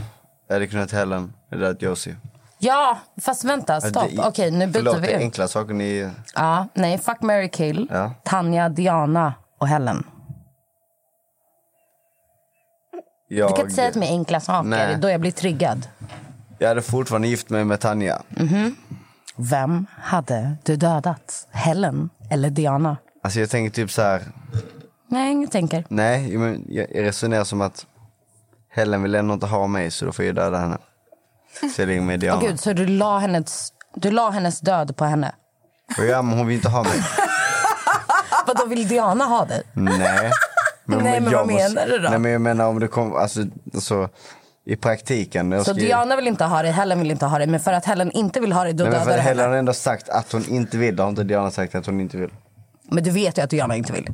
Jag hade kunnat Helen, jag hade dödat Josie.
Ja, fast vänta, stopp.
Eh, det-
Okej, nu byter
förlåt,
vi
det är
ut.
enkla saker ni...
Ja, nej, fuck, marry, kill.
Ja.
Tanja, Diana och Helen.
Jag,
Du kan inte säga till mig enkla saker,
Nej.
det är då jag blir triggad.
jag hade fortfarande gift mig med Tanja.
Mhm. Vem hade du dödat? Helen eller Diana?
Alltså jag tänker typ så här.
Nej, jag tänker.
Nej, men jag jag resonerar som att Helen vill ändå inte ha mig så då får jag döda henne. Så jag ligger med Diana.
Åh gud, så du la, hennes, du la hennes död på henne?
Och ja, men hon vill inte ha mig.
Vad då vill Diana ha dig?
Nej.
Nej, men
jag
vad menar du då?
Nej, men jag menar om det kommer, alltså, alltså i praktiken. Jag
Så
ska ju-
Diana vill inte ha dig, Helen vill inte ha dig. Men för att Helen inte vill ha dig, då
Nej, men
dödar
för
du henne.
Helen har ändå sagt att hon inte vill. Det har inte Diana sagt att hon inte vill.
Men du vet ju att Diana inte vill.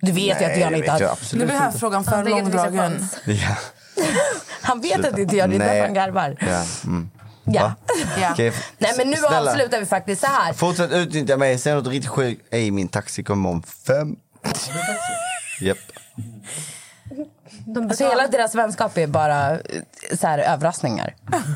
Du vet ju
Nej,
att Diana
det
inte
vet jag
har... *laughs*
absolut Nu blir
här inte. frågan för Han tycker att det finns en långdragen. chans.
Ja.
Han vet att
Sluta.
det inte gör det, det är
Nej.
därför han garvar.
ja. Mm.
Ja. ja.
Okej,
Nej men nu
snälla.
avslutar vi faktiskt så här.
Fortsätt utnyttja mig. Säg något riktigt sjukt. Ej, min taxi kommer om
*laughs*
fem. Japp.
Alltså hela deras vänskap är bara eh, så här, överraskningar.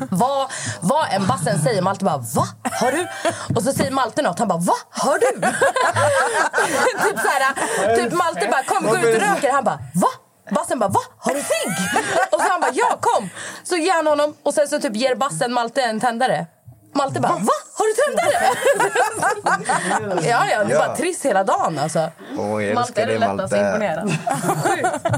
vad, vad en bassen säger, Malte bara va? Har du? Och så säger Malte något, han bara va? Har du? *laughs* typ, så här, typ Malte bara kom gå ut och röker, han bara va? Bassen bara va? Har du cigg? och så han bara ja kom. Så ger han honom och sen så typ ger bassen Malte en tändare. Malte bara va? Har du tändare? *laughs* ja ja, det är bara
Ja.
trist hela dagen alltså.
Åh, jag
Malte
älskar
är det
dig,
lättaste att
Malte.
imponera.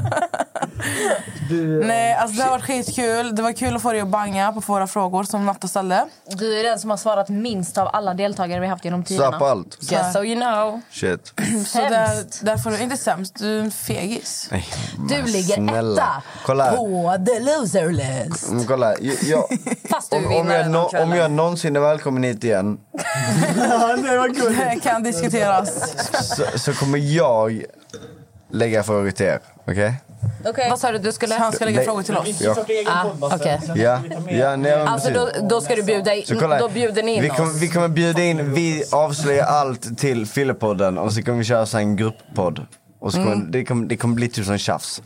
Nej, alltså det här var skitkul. Det var kul att få dig att banga på våra frågor som Natta ställde.
Du är den som har svarat minst av alla deltagare vi haft genom tiderna.
Så här på allt. Just so
you know.
Shit.
Så där, där får du inte sämst. Du är en fegis.
Nej,
Du ligger
snälla.
etta
Kolla här.
På the loser list.
Mm, kolla, jag, jag,
Fast
du
om, om,
vinner
jag
den
nå-
kvällen.
om jag någonsin är välkommen hit igen
Det kan diskuteras.
så, så kommer jag lägga frågor till er. Okej?
Vad sa du? Du skulle...
Han ska lägga
Nej.
frågor till oss.
Ja.
Ah, okej.
Ja, ja nej, men
Alltså då,
precis.
då ska du bjuda in,
Så kolla,
då bjuder ni in
vi
oss.
kommer, vi kommer bjuda in, vi avslöjar allt till Fyllepodden och så kommer vi köra så här en grupppodd. Och så kommer,
Mm.
det, kommer, det kommer bli typ som tjafs.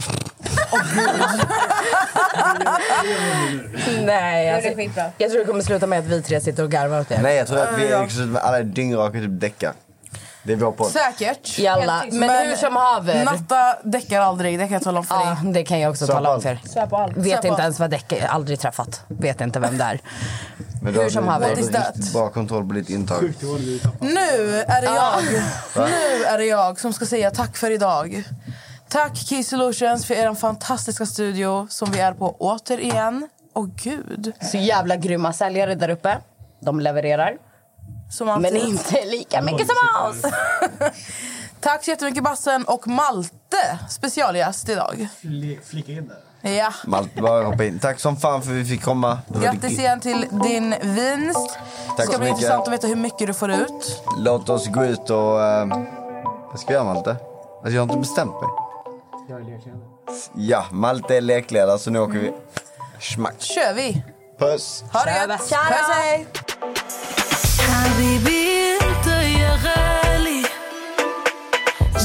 Nej, alltså, jag tror det kommer sluta med att vi tre sitter och garvar åt det.
Nej jag tror att vi är liksom, alla är dyngraka och typ däckar. Det är vår podd.
Säkert.
Jalla. Men hur som haver.
Natta däckar aldrig, det kan jag tala om för dig.
Ja, det kan jag också
Så
tala
på
om för er.
Svär på allt. Svär
Vet
på
inte
allt.
ens vad däck är. Aldrig träffat. Vet inte vem det är.
Men
hur som haver.
What is that? Bra kontroll på ditt intag.
Nu är det jag.
Va?
*laughs* Nu är det jag som ska säga tack för idag. Tack Key Solutions för er fantastiska studio som vi är på återigen. Och gud.
Så jävla grymma säljare där uppe. De levererar.
Som alltid.
Men inte lika mycket som oss.
Tack så jättemycket Bassen och Malte, specialgäst idag.
Flika in där.
Ja.
Malte bara hoppa in. Tack som fan för vi fick komma. Det var
Grattis igen till din vinst.
Tack
Det ska bli
så mycket.
intressant att veta hur mycket du får ut.
Låt oss gå ut och... eh, vad ska vi göra Malte? Alltså jag har inte bestämt mig.
Jag är lekledare.
Ja, Malte är lekledare så nu åker vi. Schmack.
kör vi.
Puss!
Ha det gött.
Tja då.
Puss hej.
حبيبي انت يا غالي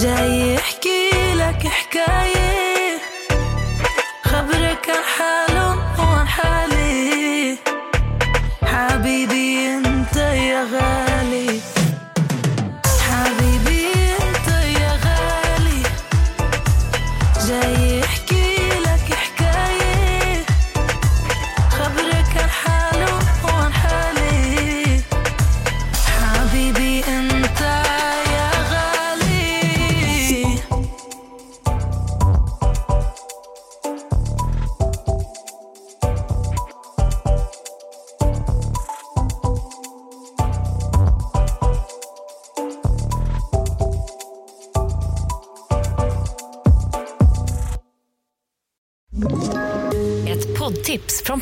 جاي احكي لك حكاية خبرك عن حالهم وعن حالي حبيبي انت يا غالي حبيبي انت يا غالي جاي احكي لك حكاية خبرك عن حالهم وعن حالي حبيبي انت يا غالي
Ett poddtips från